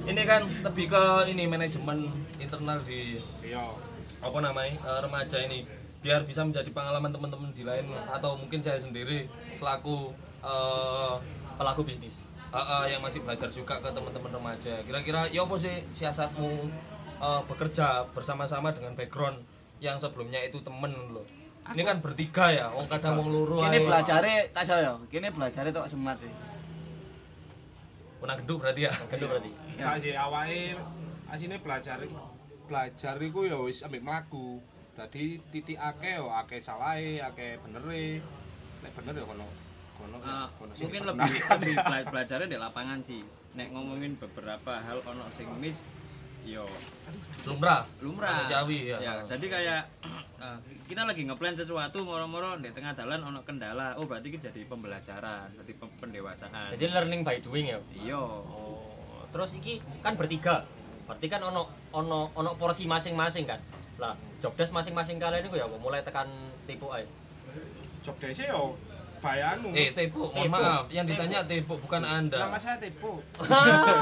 S2: Ini kan lebih ke ini manajemen internal di
S4: Yo.
S2: apa namanya eh, remaja ini biar bisa menjadi pengalaman teman-teman di lain atau mungkin saya sendiri selaku eh,
S1: pelaku bisnis
S2: eh, eh, yang masih belajar juga ke teman-teman remaja kira-kira ya apa sih siasatmu eh, bekerja bersama-sama dengan background yang sebelumnya itu temen loh ini kan bertiga ya wong kadang wong luru ae.
S5: Kini belajare tak jauh ya. Kini belajare tok semat sih.
S2: Punah genduk berarti ya
S1: gendut berarti
S4: Kaji Nah, awake asine belajar belajar iku ya wis ambek mlaku. Dadi titik akeh yo akeh salahe, akeh benere. Nek bener ya kono kono
S6: Eh,
S4: kono sing
S6: mungkin lebih,
S4: diperkenalkan.
S6: lebih bela- belajarnya di lapangan sih nek ngomongin beberapa hal ono sing miss yo
S2: lumrah
S6: lumrah
S2: manusiawi ya,
S6: ya jadi kayak (clears throat) eh, kita lagi ngeplan sesuatu moro-moro di tengah jalan ono kendala oh berarti ini jadi pembelajaran jadi pem- pendewasaan
S1: Jadi learning by doing ya.
S6: iya
S1: Oh, terus iki kan bertiga. Berarti kan ono ono ono porsi masing-masing kan. Lah, jobdesk masing-masing kalian itu ya apa? mulai tekan tipu ae.
S4: job desa yo bayanmu
S2: eh tepu mohon
S1: Tepu.
S2: maaf yang ditanya tepu bukan anda
S4: nama saya Tepo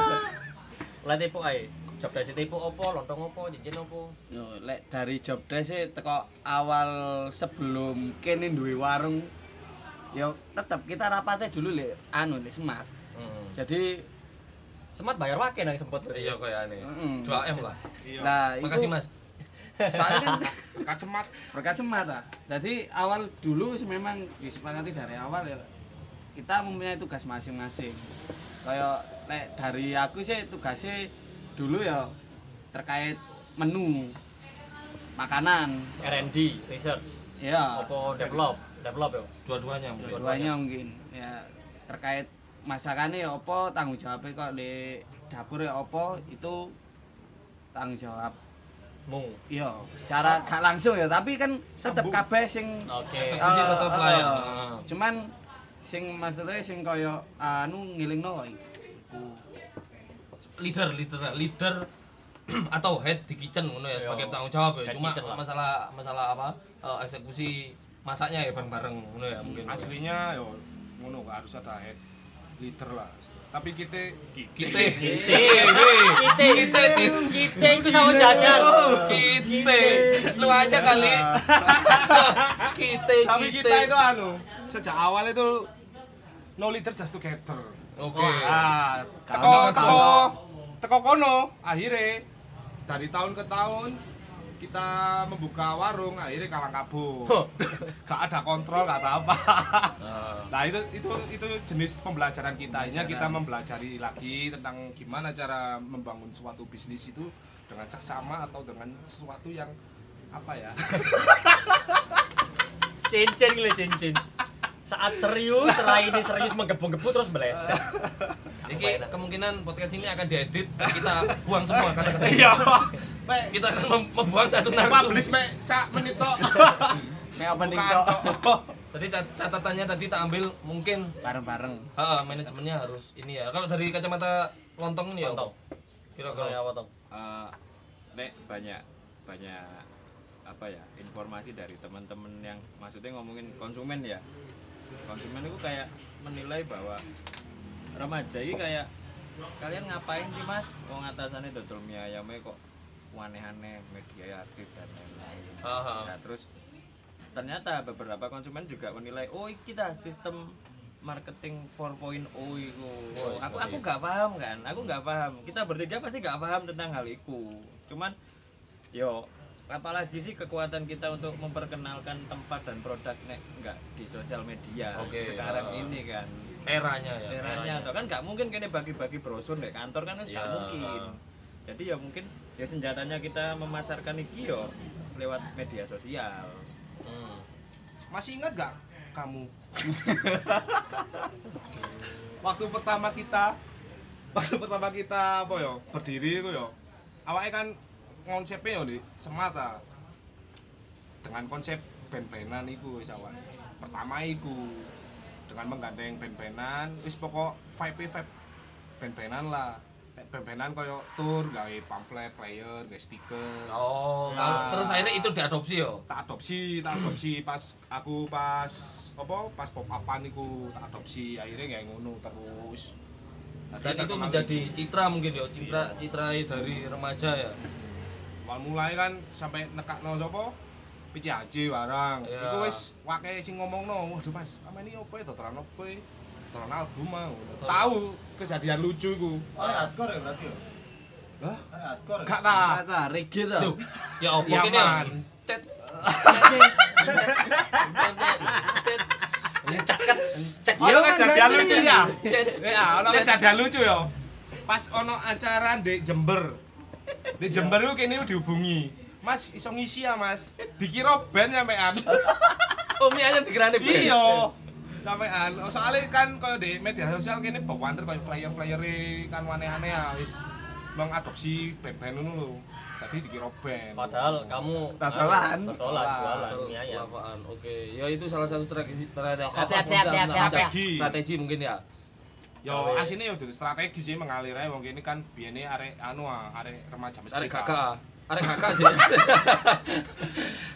S1: (laughs) mulai tipu ae. Jobdesk tipu opo, lontong opo, jenjen opo.
S5: Yo, lek dari job desk sih teko awal sebelum kene duwe warung yo tetep kita rapatnya dulu lek anu lek smart.
S2: Hmm.
S5: Jadi
S1: Semat bayar wake nang sempet berarti.
S2: iya kayak ini
S5: Mm.
S2: 2M lah
S4: iya
S5: nah itu
S2: makasih mas
S5: (laughs) soalnya kan (laughs)
S4: kacemat
S5: berkat smart ah. Jadi awal dulu sih memang disepakati dari awal ya kita mempunyai tugas masing-masing. Kayak lek dari aku sih tugasnya dulu ya terkait menu makanan
S1: R&D, research,
S5: ya
S1: opo develop, develop ya.
S2: dua-duanya mungkin
S5: dua-duanya mungkin ya terkait masakannya ya apa tanggung jawabnya kok di dapur ya apa itu tanggung jawab
S1: Mung.
S5: iya secara gak langsung ya tapi kan tetep
S4: Sambung.
S5: kabeh sing
S1: Oke.
S2: Eksekusi
S5: eh,
S2: tetep
S5: eh,
S2: lah ya.
S5: eh, cuman sing maksudnya sing kaya anu ngelingno kok iki.
S2: leader leader leader (clears throat) atau head di kitchen ngono ya
S1: Iya.
S2: sebagai tanggung jawab ya
S1: Head
S2: cuma
S1: kitchen lah.
S2: masalah masalah apa eh, eksekusi masaknya ya bareng-bareng ngono ya mungkin
S4: aslinya yo ngono nggak harus ada head leader lah tapi kita
S2: kita
S1: Kite, kite, kite, kite itu sama jajan.
S2: kita lu aja kali (laughs) kita
S4: Iya. tapi kita itu anu sejak awal itu no leader just together
S2: oke
S4: ah teko
S2: Karena kan
S4: teko
S2: tahun-
S4: teko kono akhirnya dari tahun ke tahun kita membuka warung akhirnya kalang kabut (laughs) gak ada kontrol gak ada apa nah itu itu itu jenis pembelajaran kita Akhirnya kita mempelajari lagi tentang gimana cara membangun suatu bisnis itu dengan seksama atau dengan sesuatu yang apa ya
S1: Cincin gile cincin. Saat serius, serai ini serius menggebu-gebu terus meleset.
S2: Iki kemungkinan podcast ini akan diedit dan kita buang semua kata-kata ini.
S4: iya Mek,
S2: kita akan mem- membuang satu narasi
S4: publish mek sak menit tok
S5: nek opening
S4: Bukaan
S5: tok
S4: tok.
S2: jadi cat- catatannya tadi tak ambil mungkin
S5: bareng-bareng
S2: ah, ah, manajemennya harus ini ya kalau dari kacamata lontong ini ya
S1: Lontong. Iya,
S2: kira-kira
S1: apa tong?
S6: eh, nek banyak banyak apa ya informasi dari teman-teman yang maksudnya ngomongin konsumen ya konsumen itu kayak menilai bahwa remaja ini kayak kalian ngapain sih mas wong atasannya dodol mie ayamnya kok aneh-aneh media aktif dan lain-lain
S2: Aha.
S6: Nah, terus ternyata beberapa konsumen juga menilai oh iki dah sistem marketing 4.0 iku
S1: Oh,
S2: iya.
S6: aku
S1: seperti
S6: aku
S1: itu.
S6: gak paham kan aku gak paham kita bertiga pasti gak paham tentang hal itu cuman yo apalagi sih kekuatan kita untuk memperkenalkan tempat dan produk nek nggak di sosial media
S2: Oke,
S6: sekarang
S2: ya.
S6: ini kan
S2: eranya ya
S6: eranya toh kan nggak mungkin kene bagi-bagi brosur nek kantor kan wis nggak
S2: Ya.
S6: mungkin jadi ya mungkin ya senjatanya kita memasarkan iki yo lewat media sosial
S2: Hmm.
S4: Masih ingat gak kamu? waktu pertama kita waktu pertama kita apa yo berdiri itu yo awalnya kan konsepnya yo di semata dengan konsep band-bandan itu wis awal pertama itu dengan menggandeng band-bandan wis pokok vibe vibe band-bandan lah band-bandan koyo tour gawe pamflet player gawe stiker
S2: oh kalau-
S4: Nah.
S2: terus akhirnya itu diadopsi ya? yo
S4: tak adopsi tak adopsi pas aku pas apa pas pop upan iku tak adopsi akhirnya kayak ngono terus
S2: dan itu menjadi citra mungkin yo
S4: Iya.
S2: citra citra dari remaja ya
S4: awal mulai kan sampai nekak no sopo PCAJ barang
S2: Iya.
S4: itu wis wakai sing ngomong no waduh mas ama ini apa ya totalan apa ya totalan album ah
S2: Betul.
S4: tahu kejadian lucu iku
S3: Orang hardcore ya berarti ya?
S4: Hah?
S3: Orang hardcore ya?
S4: gak
S2: Ah.
S4: lah
S5: kata reggae to
S2: tuh ya opo
S4: Yaman.
S2: kene cet cet
S1: Encaket, encek.
S4: ono kejadian
S5: berarti.
S4: lucu ya
S2: cet
S4: Iya. Ya, ono kejadian lucu ya. Pas ono acara di Jember. Di
S1: Iya.
S4: Jember itu kene dihubungi. Mas iso ngisi ya, Mas. Dikira band
S1: (laughs)
S4: sampean.
S2: oh mie ayam digerane Ben.
S4: Iya. Sampean. Oh, Soale kan koyo di media sosial kene bawanter koyo flyer-flyere kan aneh-aneh e ya wis. mengadopsi band-band ngono lho. Tadi dikira band.
S1: Padahal kamu
S5: Totolan.
S1: anu, totolan jualan
S2: Betul,
S1: ya ya.
S2: kelapaan. Oke, ya itu salah satu strategi strategi-
S1: siap, siap, siap, siap,
S2: strategi
S4: siap.
S2: strategi mungkin ya.
S4: Ya asine ya dudu strategi sih mengalir ae wong kene kan biyene arek anu ah, arek remaja
S2: Arek
S4: masjid.
S2: kakak. Arek kakak (laughs) sih.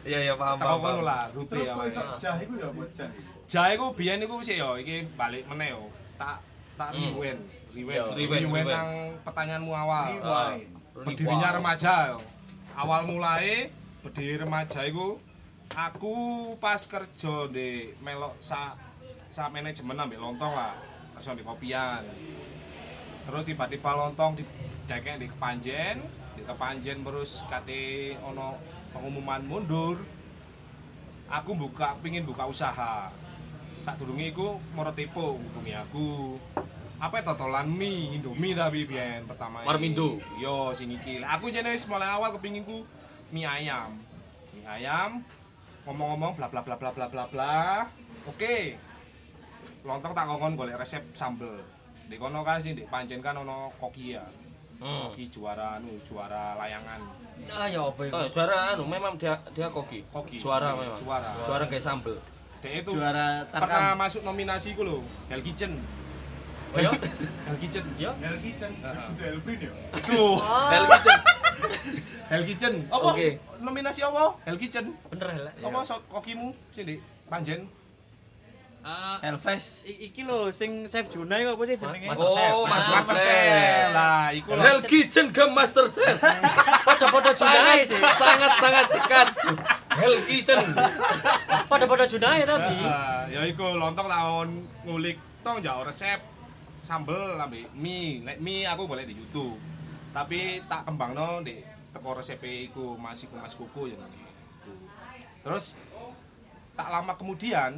S2: Iya, iya paham
S4: Apa
S2: paham. paham.
S4: ngono lah rute
S3: Terus
S4: ya.
S3: kok
S4: wae.
S3: iso jah iku ya buat jah.
S4: Jae ku biyen iku sik yo iki balik meneh yo. Tak tak
S2: Hmm.
S4: riwen, riwen,
S2: Yo, riwen,
S4: riwen
S2: riwen.
S4: nang pertanyaanmu awal.
S3: Rewind.
S4: Berdirinya remaja yo. Awal mulai berdiri remaja iku aku pas kerja di melok sa sa manajemen ambek lontong lah. Kerja di kopian. Terus tiba-tiba lontong di dekek di kepanjen, di kepanjen terus kate ono pengumuman mundur. Aku buka pingin buka usaha. Sak durunge iku moro tipu hubungi aku. Apa ya, totolan mie, Indomie tapi biyen pertama. ini.
S2: Warmindo.
S4: Yo sing iki. Aku jane wis mulai awal kepingin ku mie ayam. Mie ayam ngomong-ngomong bla bla bla bla bla bla bla. Oke. Lontong tak kongkon golek resep sambel. Di kono kan sih, di pancen kan ono koki ya.
S2: Hmm.
S4: Koki juara anu, juara layangan.
S1: Ah ya apa itu?
S2: Oh, juara anu memang dia dia koki.
S4: Koki.
S2: Juara memang.
S4: Juara.
S2: Juara kayak sambel.
S4: Dia itu
S5: Juara
S4: pernah
S5: tarkam.
S4: masuk nominasi ku lho, Hell Kitchen.
S1: Oh
S2: iya?
S1: ya.
S4: Hell Kitchen.
S1: Ya.
S3: Nel kitchen itu Elvin ya.
S4: Aduh,
S2: Hell kitchen.
S4: (laughs) Hell Kitchen. Apa?
S2: Oke. Iya.
S4: Nominasi apa? Hell Kitchen.
S1: Bener lah.
S4: Apa sok kokimu sih, Dik? Panjen.
S6: Ah,
S5: Elves.
S6: i- iki lho sing Chef Junai apa sih jenenge?
S1: Master Chef.
S2: Oh, Master
S4: Master
S2: Chef.
S4: Chef. Lah, iku lho.
S2: Hell kitchen ke master (laughs) chef.
S1: Pada-pada junai
S2: sangat
S1: sih.
S2: sangat sangat dekat. Hell kitchen.
S1: Pada-pada junai tapi.
S4: Ah, ya iku lontong tahun ngulik tong jauh resep sambel ambil mie nek mie aku boleh di YouTube tapi tak kembangno di teko resep iku mas iku mas kuku ya namanya. terus tak lama kemudian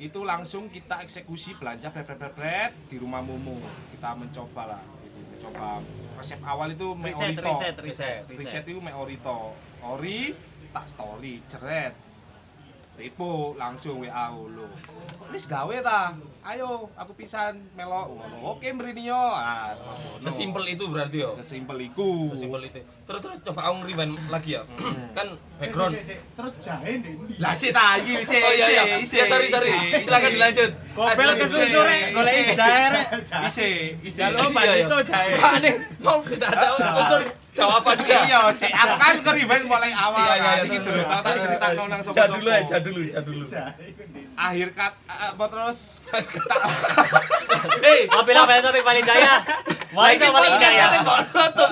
S4: itu langsung kita eksekusi belanja bret bret bret, bret, di rumah mumu kita mencoba lah itu mencoba resep awal itu
S6: Riset,
S4: meolito
S6: riset, riset,
S4: riset itu mek ori to ori tak story jeret tipu langsung WA lo wis gawe ta ayo aku pisan melok ngono oke mrene yo ah ngono.
S2: Sesimpel itu berarti yo.
S4: sesimpel iku
S2: Sesimpel itu. Terus terus coba aku rewind lagi ya. kan
S3: Sik,
S2: background.
S3: sik, sik, sik. Terus jahe ndek ndi?
S4: lah sik ta iki sik
S2: Oh iya iya.
S4: sik, sik,
S2: Ya sorry sorry.
S4: sik, sik.
S2: Silakan dilanjut.
S6: Kobel
S2: Lanjut.
S6: kesusu rek, golek
S4: Isi.
S6: jahe rek.
S4: isik isik
S6: Jaluk Pak
S2: Iya, iya.
S6: Dito jahe.
S2: Pak nih, mau kita ada unsur jawaban aja.
S4: iya sik aku kan keriben mulai awal
S2: Iya, iya,
S4: kan
S2: iya,
S4: iki
S2: terus,
S4: dulu
S2: terus.
S4: tau tak critakno nang
S2: Jah
S4: sapa-sapa
S2: dulu ya, jah dulu, jah (laughs) dulu.
S3: Jahe iku ndek ndi?
S4: akhir kat eh, apa terus
S2: Hei,
S1: Tapi lah tapi paling
S2: (laughs)
S1: jaya. Wah, itu
S2: Iki
S1: paling
S2: podcast
S1: jaya.
S2: kate monoton.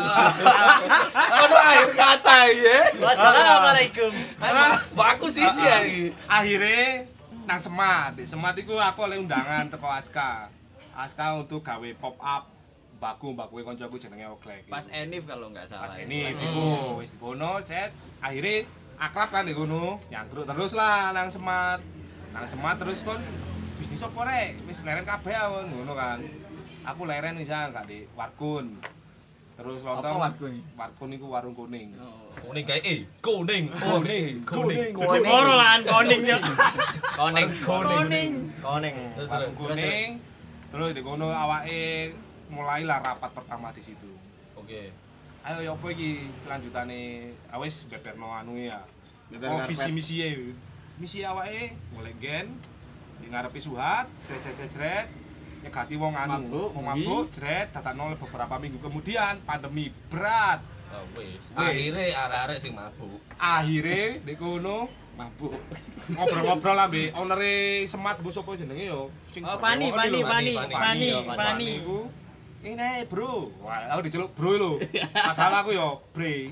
S2: Ono akhir kata ya.
S1: Wassalamualaikum.
S2: Terus aku sisi ya. iki.
S4: akhirnya nang semat di semat itu aku oleh undangan teko Aska Aska untuk gawe pop up baku baku koncoku jenenge Oglek
S6: Pas Enif kalau nggak salah.
S4: pas ini iku wis dibono set akhirnya akrab kan di kono nyangkruk terus lah nang semat nang semat terus kon bisnis apa rek wis leren kabeh awon ngono kan aku leren wisan gak di warkun terus lontong
S5: Apa warkun?
S4: warkun iku warung kuning
S2: Kuning kayak eh kuning, kuning, kuning.
S6: Kuning. Moro lahan koning
S4: ya.
S6: yo.
S1: Koneng.
S6: Koning.
S1: Koneng.
S2: Terus,
S4: warung
S2: terus.
S4: kuning terus di kono awake mulailah rapat pertama di situ
S2: Oke.
S4: ayo ya apa iki kelanjutane awis beberno anu ya
S5: Beber
S4: oh
S5: karpet.
S4: visi misi ya misi awake mulai gen di ngarepi suhat jret jret jret, jret nyegati wong anu
S5: Mabuk,
S4: wong
S5: mugi.
S4: mabuk jret tatakno beberapa minggu kemudian pandemi berat
S2: Oh, wis. Akhirnya arek-arek sing mabuk.
S4: akhirnya di kono
S5: Mabuk.
S4: ngobrol-ngobrol lah be onere semat bu sopo jenenge yo sing
S6: Oh, Fani,
S4: berwong-
S6: Fani,
S4: lho,
S6: Fani, Fani,
S4: yo,
S6: Fani.
S4: iku, ini ae, bro wah aku diceluk bro lho padahal aku yo bre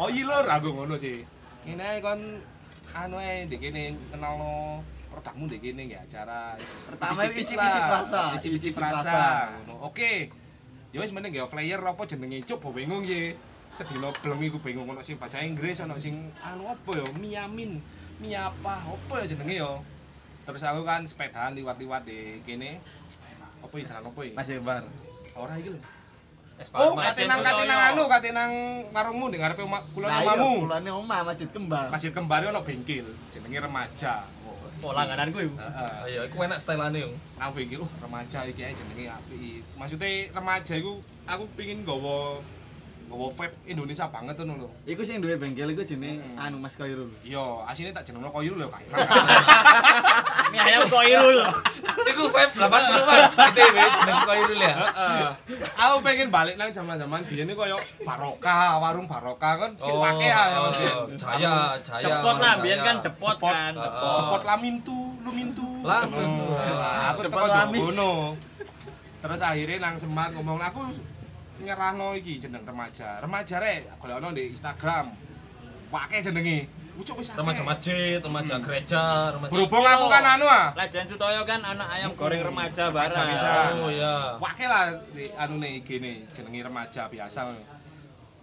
S4: oh iya lho aku ngono sih ini ae kon anu ae ndek kene kenal no produkmu ndek kene nggih acara Is,
S5: Pertama
S4: tipis-tipis
S5: itu icip-icip
S4: lah.
S5: rasa.
S4: icip-icip
S5: Icip-icip
S4: rasa
S5: rasa.
S4: ngono oke ya wis mending ya flyer apa jenenge cuk bo bingung ya sedina belum iku bingung ono sing bahasa Inggris ono sing anu apa ya miamin mi apa apa ya jenenge ya terus aku kan sepedaan liwat-liwat di kene apa ya dalan apa ya
S5: Mas Ibar.
S4: ora iki lho
S1: Es
S4: oh
S1: Parma.
S4: kate nang kate nang anu kate nang warungmu ndek ngarepe omah- kulon
S5: Lah iya,
S4: omamu
S5: Kulone omah Masjid Kembang.
S4: Masjid kembali ono bengkel jenenge remaja
S1: Oh, langgananku iku.
S4: Heeh.
S2: Ayo, Ah, iya, iku enak stylane yo.
S4: aku pikir oh remaja iki ae jenenge apik maksudnya remaja iku aku pingin nggawa nggawa vape Indonesia banget ngono lho
S5: Iku sing duwe bengkel iku jenenge
S4: Hmm.
S5: anu Mas Koirul.
S4: iya aslinya tak jenengno koyo lho kan
S2: (laughs)
S1: Ini ayam kok irul.
S2: Iku vape 80 Mas. ITW jeneng kok itu ya.
S4: Heeh. aku pengen balik nang zaman-zaman biyen iku koyo barokah warung barokah kan cilwake ya
S2: Oh,
S4: maksudnya
S2: Jaya, Jaya.
S6: Depot lah,
S2: Jaya.
S6: biyen kan depot kan,
S2: Heeh.
S6: depot.
S4: pot lamintu lumintu
S2: Lamintu.
S4: Nah, aku
S5: Cepat
S4: teko
S5: lamis.
S4: ngono terus akhirnya nang semat ngomong aku nyerahno iki jeneng remaja remaja rek golekno di Instagram pakai jenenge ucuk wis akeh.
S2: Remaja masjid, remaja gereja, remaja
S4: berhubung aku kan anu ah
S6: Lajan Sutoyo kan anak ayam goreng remaja barang.
S4: bisa.
S2: Oh iya.
S4: pakai lah di anu nih gini jenenge remaja biasa ngono.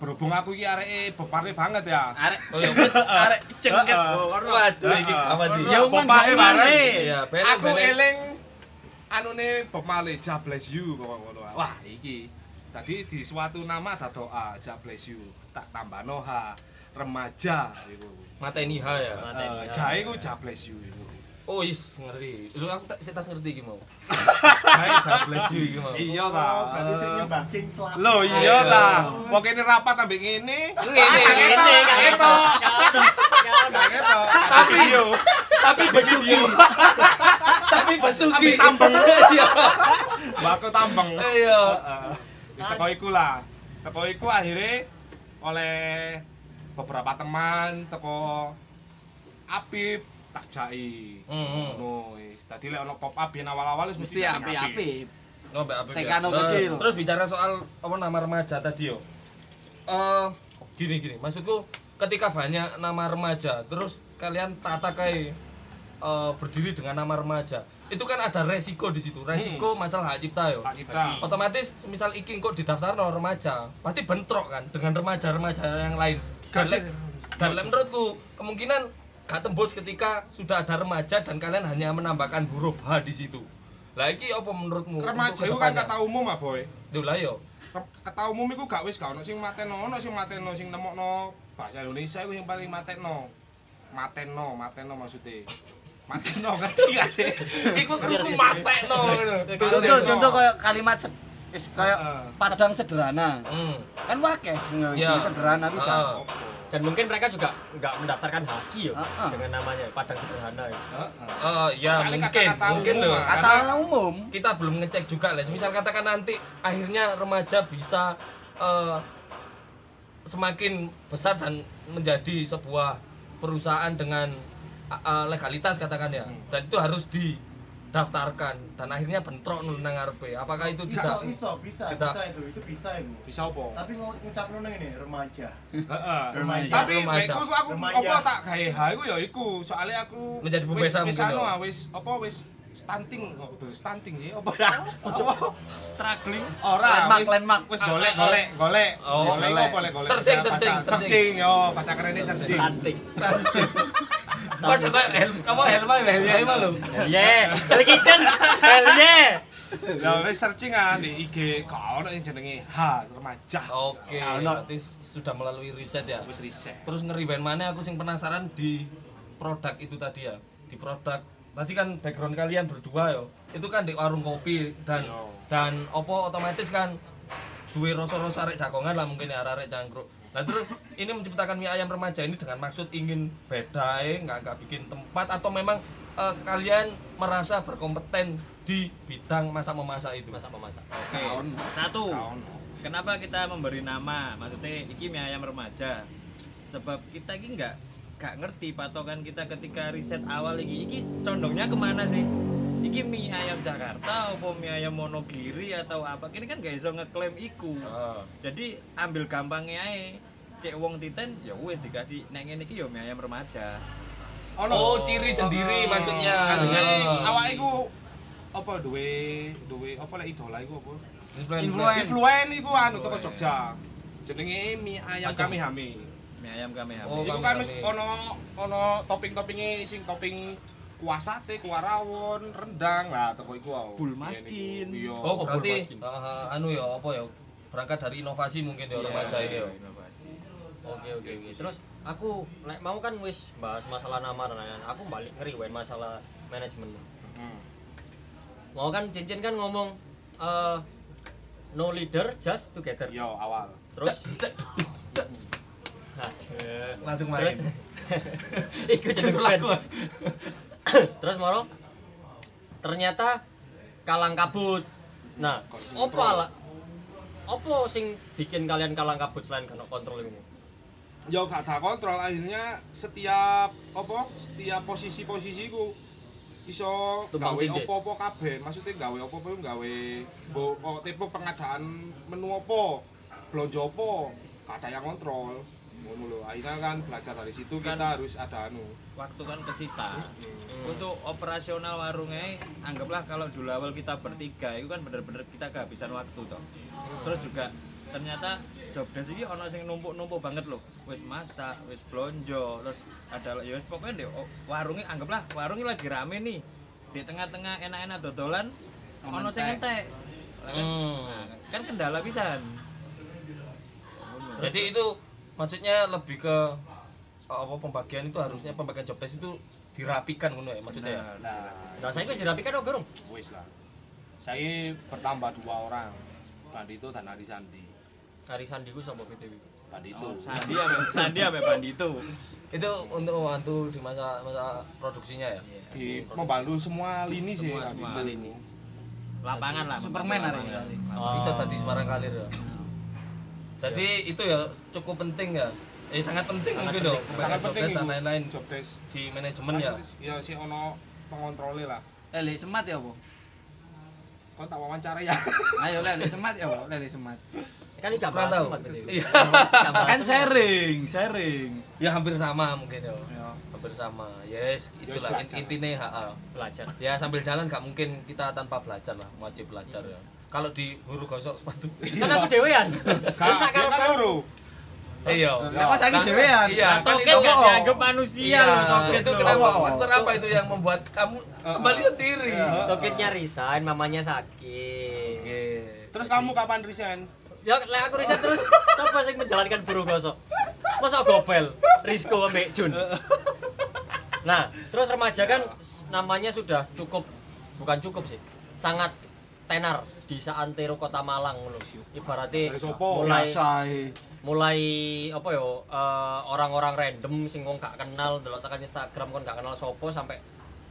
S4: berhubung aku iki areke bepare banget ya
S5: Arek
S2: Oh, iya.
S5: cengket,
S2: (laughs)
S5: arek cengket.
S4: Heeh.
S2: Waduh, iki kawan di.
S5: Ya, Uman,
S4: bepare
S5: Uman.
S4: bareng
S2: Ah. Iya, bener,
S4: aku
S2: bener.
S4: eling anune Bob Marley God bless you kok ngono ae. wah iki tadi di suatu nama ada doa God bless you tak tambah noha remaja iku
S2: Mateni ha ya.
S4: Eh, jae ku God bless you iku
S2: Oh is ngeri. Lu aku tak saya tas ngerti iki (laughs) mau. Hai, God bless you iki mau.
S4: iya ta
S3: Oh, berarti sing nyembah King Slav.
S4: lo iya ta
S3: Iya.
S4: pokoknya rapat ambek ngene
S2: Ngene, ngene,
S4: ngene ngene tapi yo
S2: Tapi besuki. Tapi besuki.
S4: Tapi tambeng.
S2: (laughs) Iya.
S4: mbakku tambeng
S2: Iya.
S4: Heeh. Wis
S2: Nah,
S4: teko iku lah. Teko iku akhirnya oleh beberapa teman teko Apip tak jai.
S2: Hmm.
S4: Ngono wis. Tadi lek ono pop up yen awal-awal wis
S5: Mesti
S4: dateng
S5: api-api.
S2: Ngombe apa?
S5: Tekano
S2: Eh,
S5: kecil.
S2: Terus bicara soal apa nama remaja tadi yo. Eh gini gini, maksudku ketika banyak nama remaja, terus kalian tata kayak eh, berdiri dengan nama remaja, itu kan ada resiko di situ, resiko
S5: Hmm.
S2: masalah hak cipta yo.
S4: Hak cipta.
S2: Otomatis misal iki kok didaftar no remaja, pasti bentrok kan dengan remaja-remaja yang lain. Dan lek- dan lek menurutku kemungkinan gak tembus ketika sudah ada remaja dan kalian hanya menambahkan huruf H di situ. Lah iki apa menurutmu?
S4: Remaja
S2: itu
S4: iku kan kata umum ah, Boy.
S2: Duh lah yo.
S4: Re- Kata umum iku gak wis gak ono sing mateno, ono sing mateno sing nemokno bahasa Indonesia iku yang paling mateno. Mateno, mateno maksudnya. Mateno (laughs) ngerti gak sih?
S2: Iku kruku matekno
S4: Iya,
S2: ngono.
S5: Contoh contoh koyo kalimat se- is- koyo
S4: Heeh.
S5: padang sederhana.
S2: Hmm.
S5: Kan wakeh nge-
S2: Iya.
S5: sederhana bisa.
S2: Heeh.
S1: Dan mungkin mereka juga nggak mendaftarkan haki ya
S5: Ah, ah.
S1: dengan namanya Padang Sederhana ya.
S4: Heeh.
S2: Eh, ya
S4: Soalnya
S2: mungkin
S4: kata-kata
S2: mungkin
S4: umum,
S2: loh.
S4: Mas.
S5: Kata
S2: Karena
S5: umum.
S2: kita belum ngecek juga lah. Misal katakan nanti akhirnya remaja bisa eh, semakin besar dan menjadi sebuah perusahaan dengan eh, eh, legalitas katakan ya. Dan itu harus didaftarkan dan akhirnya bentrok nul nang ngarepe. Apakah itu
S3: Iso,
S2: bisa?
S3: iso, bisa,
S2: Kita-
S3: bisa itu, itu bisa itu.
S4: Bisa apa?
S3: Tapi ngomong ngucapin ini remaja.
S4: Remaja.
S3: Remaja.
S4: Tapi
S2: Remaja.
S4: baikku iku aku
S3: Remaja.
S4: apa tak gawe ha iku ya iku. Soale aku
S2: Menjadi pembesa
S4: wis- wis
S2: mungkin
S4: anu
S2: ya.
S4: ah, wis apa wis stunting oh, tuh, stunting ya apa ya?
S2: (laughs)
S6: Struggling.
S4: (laughs) Ora
S5: Landmark,
S4: wis
S5: landmark.
S4: wis
S2: Ah,
S4: golek
S2: ah, ah.
S4: golek golek.
S2: Oh,
S4: golek
S5: golek.
S4: apa golek golek.
S2: Searching,
S4: Ya,
S2: searching,
S4: bahasa-
S2: searching.
S4: searching. Yo, bahasa kerene searching.
S1: Stunting.
S2: Waduh, kayak helm, kamu helm aja, helm aja malu.
S1: Yeah, Hell Kitchen. Hell yeah.
S4: Lah wis searching ah di IG kok ono yang jenenge ha remaja.
S2: Oke,
S4: Ono.
S2: berarti sudah melalui riset ya.
S4: Wis riset.
S2: Terus ngeri ben mana aku sing penasaran di produk itu tadi ya. Di produk tadi kan background kalian berdua yo. Itu kan di warung kopi dan
S4: Iya.
S2: dan opo otomatis kan duwe rasa-rasa arek jagongan lah mungkin ya arek cangkruk. Nah terus ini menciptakan mie ayam remaja ini dengan maksud ingin beda eh, nggak nggak bikin tempat atau memang eh, kalian merasa berkompeten di bidang masak memasak itu.
S1: Masak pemasak.
S6: Oke. Satu. Kenapa kita memberi nama? Maksudnya iki mie ayam remaja. Sebab kita iki nggak nggak ngerti patokan kita ketika riset awal iki iki condongnya kemana sih? Iki mie ayam Jakarta, apa mie ayam Monogiri atau apa? Ini kan gak iso ngeklaim iku.
S2: Ah.
S6: Jadi ambil gampangnya ae. Cek wong titen ya wis dikasih nek ngene iki ya mie ayam remaja.
S4: Ono.
S2: Oh, ciri sendiri maksudnya.
S4: Maksudnya
S2: Ah.
S4: awake iku apa duwe duwe apa lek idola iku apa?
S5: Influence.
S4: Influen iku anu toko Jogja. Jenenge mie ayam
S2: Macam-
S4: kami hami.
S6: Mie ayam kami
S2: Oh, kami
S4: Iku kan wis
S2: hami.
S4: ono ono topping-toppinge sing topping kuah sate, kuah rawon, rendang lah toko iku wae.
S6: Bul maskin.
S4: Iya.
S2: Oh, berarti
S1: Bulbaskin.
S6: Iya,
S2: uh, anu ya apa ya berangkat dari inovasi mungkin ya remaja ini ya.
S6: inovasi.
S1: Oke oke oke. Terus aku nek mau kan wis bahas masalah nama Ryan. Aku balik ngeriwain masalah manajemen.
S4: Hmm.
S1: Mau kan cincin kan ngomong eh, no leader just together.
S4: Yo awal.
S1: (laughs) Terus
S2: Cek, cek,
S1: Aduh.
S2: langsung main
S5: (laughs)
S1: Terus ikut
S2: Jeneng
S1: lagu.
S2: band.
S1: Terus moro ternyata kalang kabut. (coughs) Nah, opo ala opo sing bikin kalian kalang kabut selain kena kontrol itu?
S4: Yo gak ada kontrol akhirnya setiap apa? Setiap posisi-posisiku iso
S1: Tumpang
S4: gawe
S1: tindih.
S4: opo-opo kabeh. Maksudnya gawe opo-opo itu gawe bo, oh, tipe pengadaan menu opo, blonjo opo, gak ada yang kontrol. Ngono lho. Akhirnya kan belajar dari situ kita
S6: Kan-
S4: harus ada anu.
S6: waktu kan kesita untuk operasional warungnya anggaplah kalau dulu awal kita bertiga itu kan bener-bener kita kehabisan waktu toh terus juga ternyata job desk ini ono sing numpuk-numpuk banget loh wis masak wis blonjo terus ada ya wis pokoknya di o- warungnya anggaplah warungnya lagi rame nih di tengah-tengah enak-enak dodolan
S5: Ono
S6: ono sing
S5: entek.
S6: entek Lah kan,
S1: Hmm.
S6: nah, kan kendala pisan
S2: jadi itu maksudnya lebih ke apa pembagian itu harusnya pembagian job desk itu dirapikan ngono ya maksudnya ya?
S6: Nah,
S4: Nah,
S1: Nah, saya wis dirapikan kok, Gerung.
S4: wis lah. Saya bertambah dua orang. Bandito dan Ari Sandi.
S1: Hari Sandi ku sapa BTW?
S4: Bandito.
S6: Oh, Sandi ame Sandi ame Bandito
S2: itu untuk membantu di masa masa produksinya ya
S1: Iya.
S4: di membantu semua lini sih
S6: Semua- semua
S4: Bandito.
S6: lini. lapangan lah
S5: Superman hari
S6: lapangan.
S5: ini.
S2: bisa tadi Semarang Kalir ya jadi
S1: Iya.
S2: itu ya cukup penting ya eh sangat penting mungkin dong pembagian
S4: sangat
S2: job
S4: penting
S2: desk dan
S4: itu.
S2: lain-lain
S4: job desk
S2: di manajemen ya
S4: ya si ono pengontrole lah
S5: Eh, Lek semat ya apa?
S4: kau tak wawancara ya
S5: Ayo Lek Lek semat ya apa? Lek Lek semat.
S1: Kan iki gak
S2: kurang
S1: bahas
S2: tahu
S1: sempat BTW.
S2: iya (laughs)
S1: Gak bahas
S5: Kan
S1: sempat.
S5: sharing, sharing.
S2: ya hampir sama mungkin ya
S5: Ya.
S2: hampir sama yes itulah
S4: belajar.
S2: intinya HA
S1: belajar.
S2: ya sambil jalan nggak mungkin kita tanpa belajar lah wajib belajar
S6: Iya.
S2: ya kalau di guru gosok
S6: (laughs)
S2: sepatu
S1: Kan aku dhewean.
S4: kak
S1: Sak
S4: ya
S1: karo
S4: kan loro
S2: iya
S5: Lah kok saiki dhewean?
S2: iya kan
S6: token
S2: itu
S6: gak
S2: kok
S6: dianggap Iya. manusia loh token
S2: itu
S6: loh.
S2: kenapa faktor apa itu yang membuat kamu kembali sendiri
S1: Toketnya resign, mamanya sakit.
S2: Oke.
S4: terus kamu kapan resign
S1: Ya lek aku riset terus sapa sing menjalankan buruh gosok? Masa gobel Risco ambek Jun. Nah, terus remaja kan s- namanya sudah cukup bukan cukup sih. Sangat tenar di Saantero Kota Malang ngono. Ibarate
S4: Dari
S2: Oh,
S4: sopo?
S1: mulai
S5: Biasai.
S1: mulai apa yo eh, orang-orang random sing wong gak kenal delok tekan Instagram kon gak kenal sopo sampai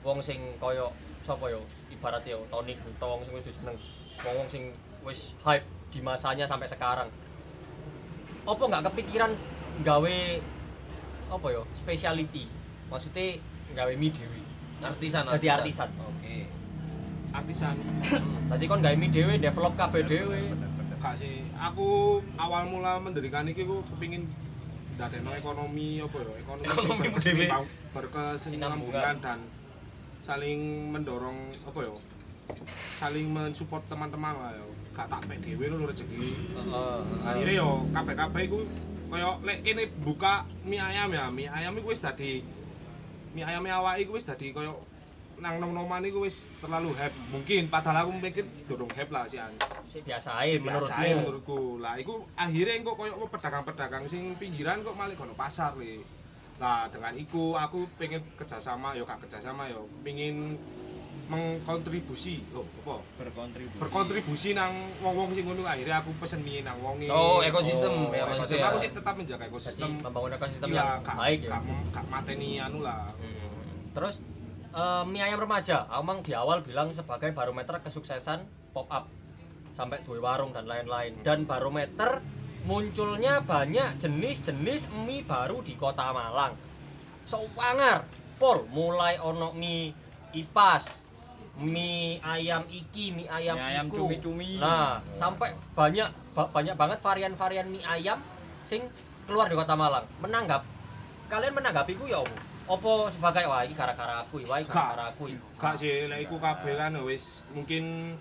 S1: wong sing koyo sopo yo ibarat yo Tony Gentong sing wis diseneng wong wong sing wis hype di masanya sampai sekarang opo nggak kepikiran gawe apa yo speciality maksudnya gawe mie dewi
S2: artisan
S1: Jadi artisan.
S2: oke
S4: artisan Hmm.
S1: tadi kon gawe mie dewi develop kabeh dewi
S4: kak sih aku awal mula mendirikan ini aku kepingin dadeno ekonomi apa ya ekonomi, sing
S2: Ekonomi
S4: berkeseimbang- berkesinambungan
S1: Sinambungan.
S4: dan saling mendorong apa ya saling mensupport teman-teman lah ya gak tak pek dhewe lho rezeki akhirnya yo kabeh kabeh iku kaya lek kene buka mie ayam ya mie ayam iku wis dadi mie ayam awak iku wis dadi kaya nang nom-noman iku wis terlalu hype mungkin padahal aku mikir durung hype lah sih
S1: si biasa ae
S4: biasa ae
S1: menurutmu
S4: menurutku lah iku akhirnya engko koyo kok pedagang-pedagang sing pinggiran kok malah kono pasar le lah dengan iku aku pengen kerjasama yo gak kerjasama yo pengin mengkontribusi loh apa
S6: berkontribusi
S4: berkontribusi nang wong-wong sing ngono akhirnya aku pesen mie nang wonge
S2: oh ekosistem
S1: Oh,
S2: ya
S4: ekosistem
S2: maksudnya
S4: aku sih tetap menjaga
S1: jadi
S4: ekosistem
S1: membangun ekosistem
S4: Iya,
S1: yang
S4: kak,
S1: baik ya
S4: kak, kak mateni anu lah
S6: Hmm.
S1: Terus eh, mie ayam remaja, Amang di awal bilang sebagai barometer kesuksesan pop up sampai duwe warung dan lain-lain.
S6: Hmm.
S1: Dan barometer munculnya banyak jenis-jenis mie baru di Kota Malang. Sowangar, Pol mulai ono mie ipas, mie ayam iki, mie ayam,
S6: Mie ayam
S1: iku.
S6: cumi-cumi.
S1: Nah, sampai banyak ba- banyak banget varian-varian mie ayam sing keluar di Kota Malang. Menanggap kalian menanggapi ku ya opo? Opo sebagai wah iki gara-gara aku, wah iki gara-gara aku.
S4: gak sih lek iku kabeh kan wis mungkin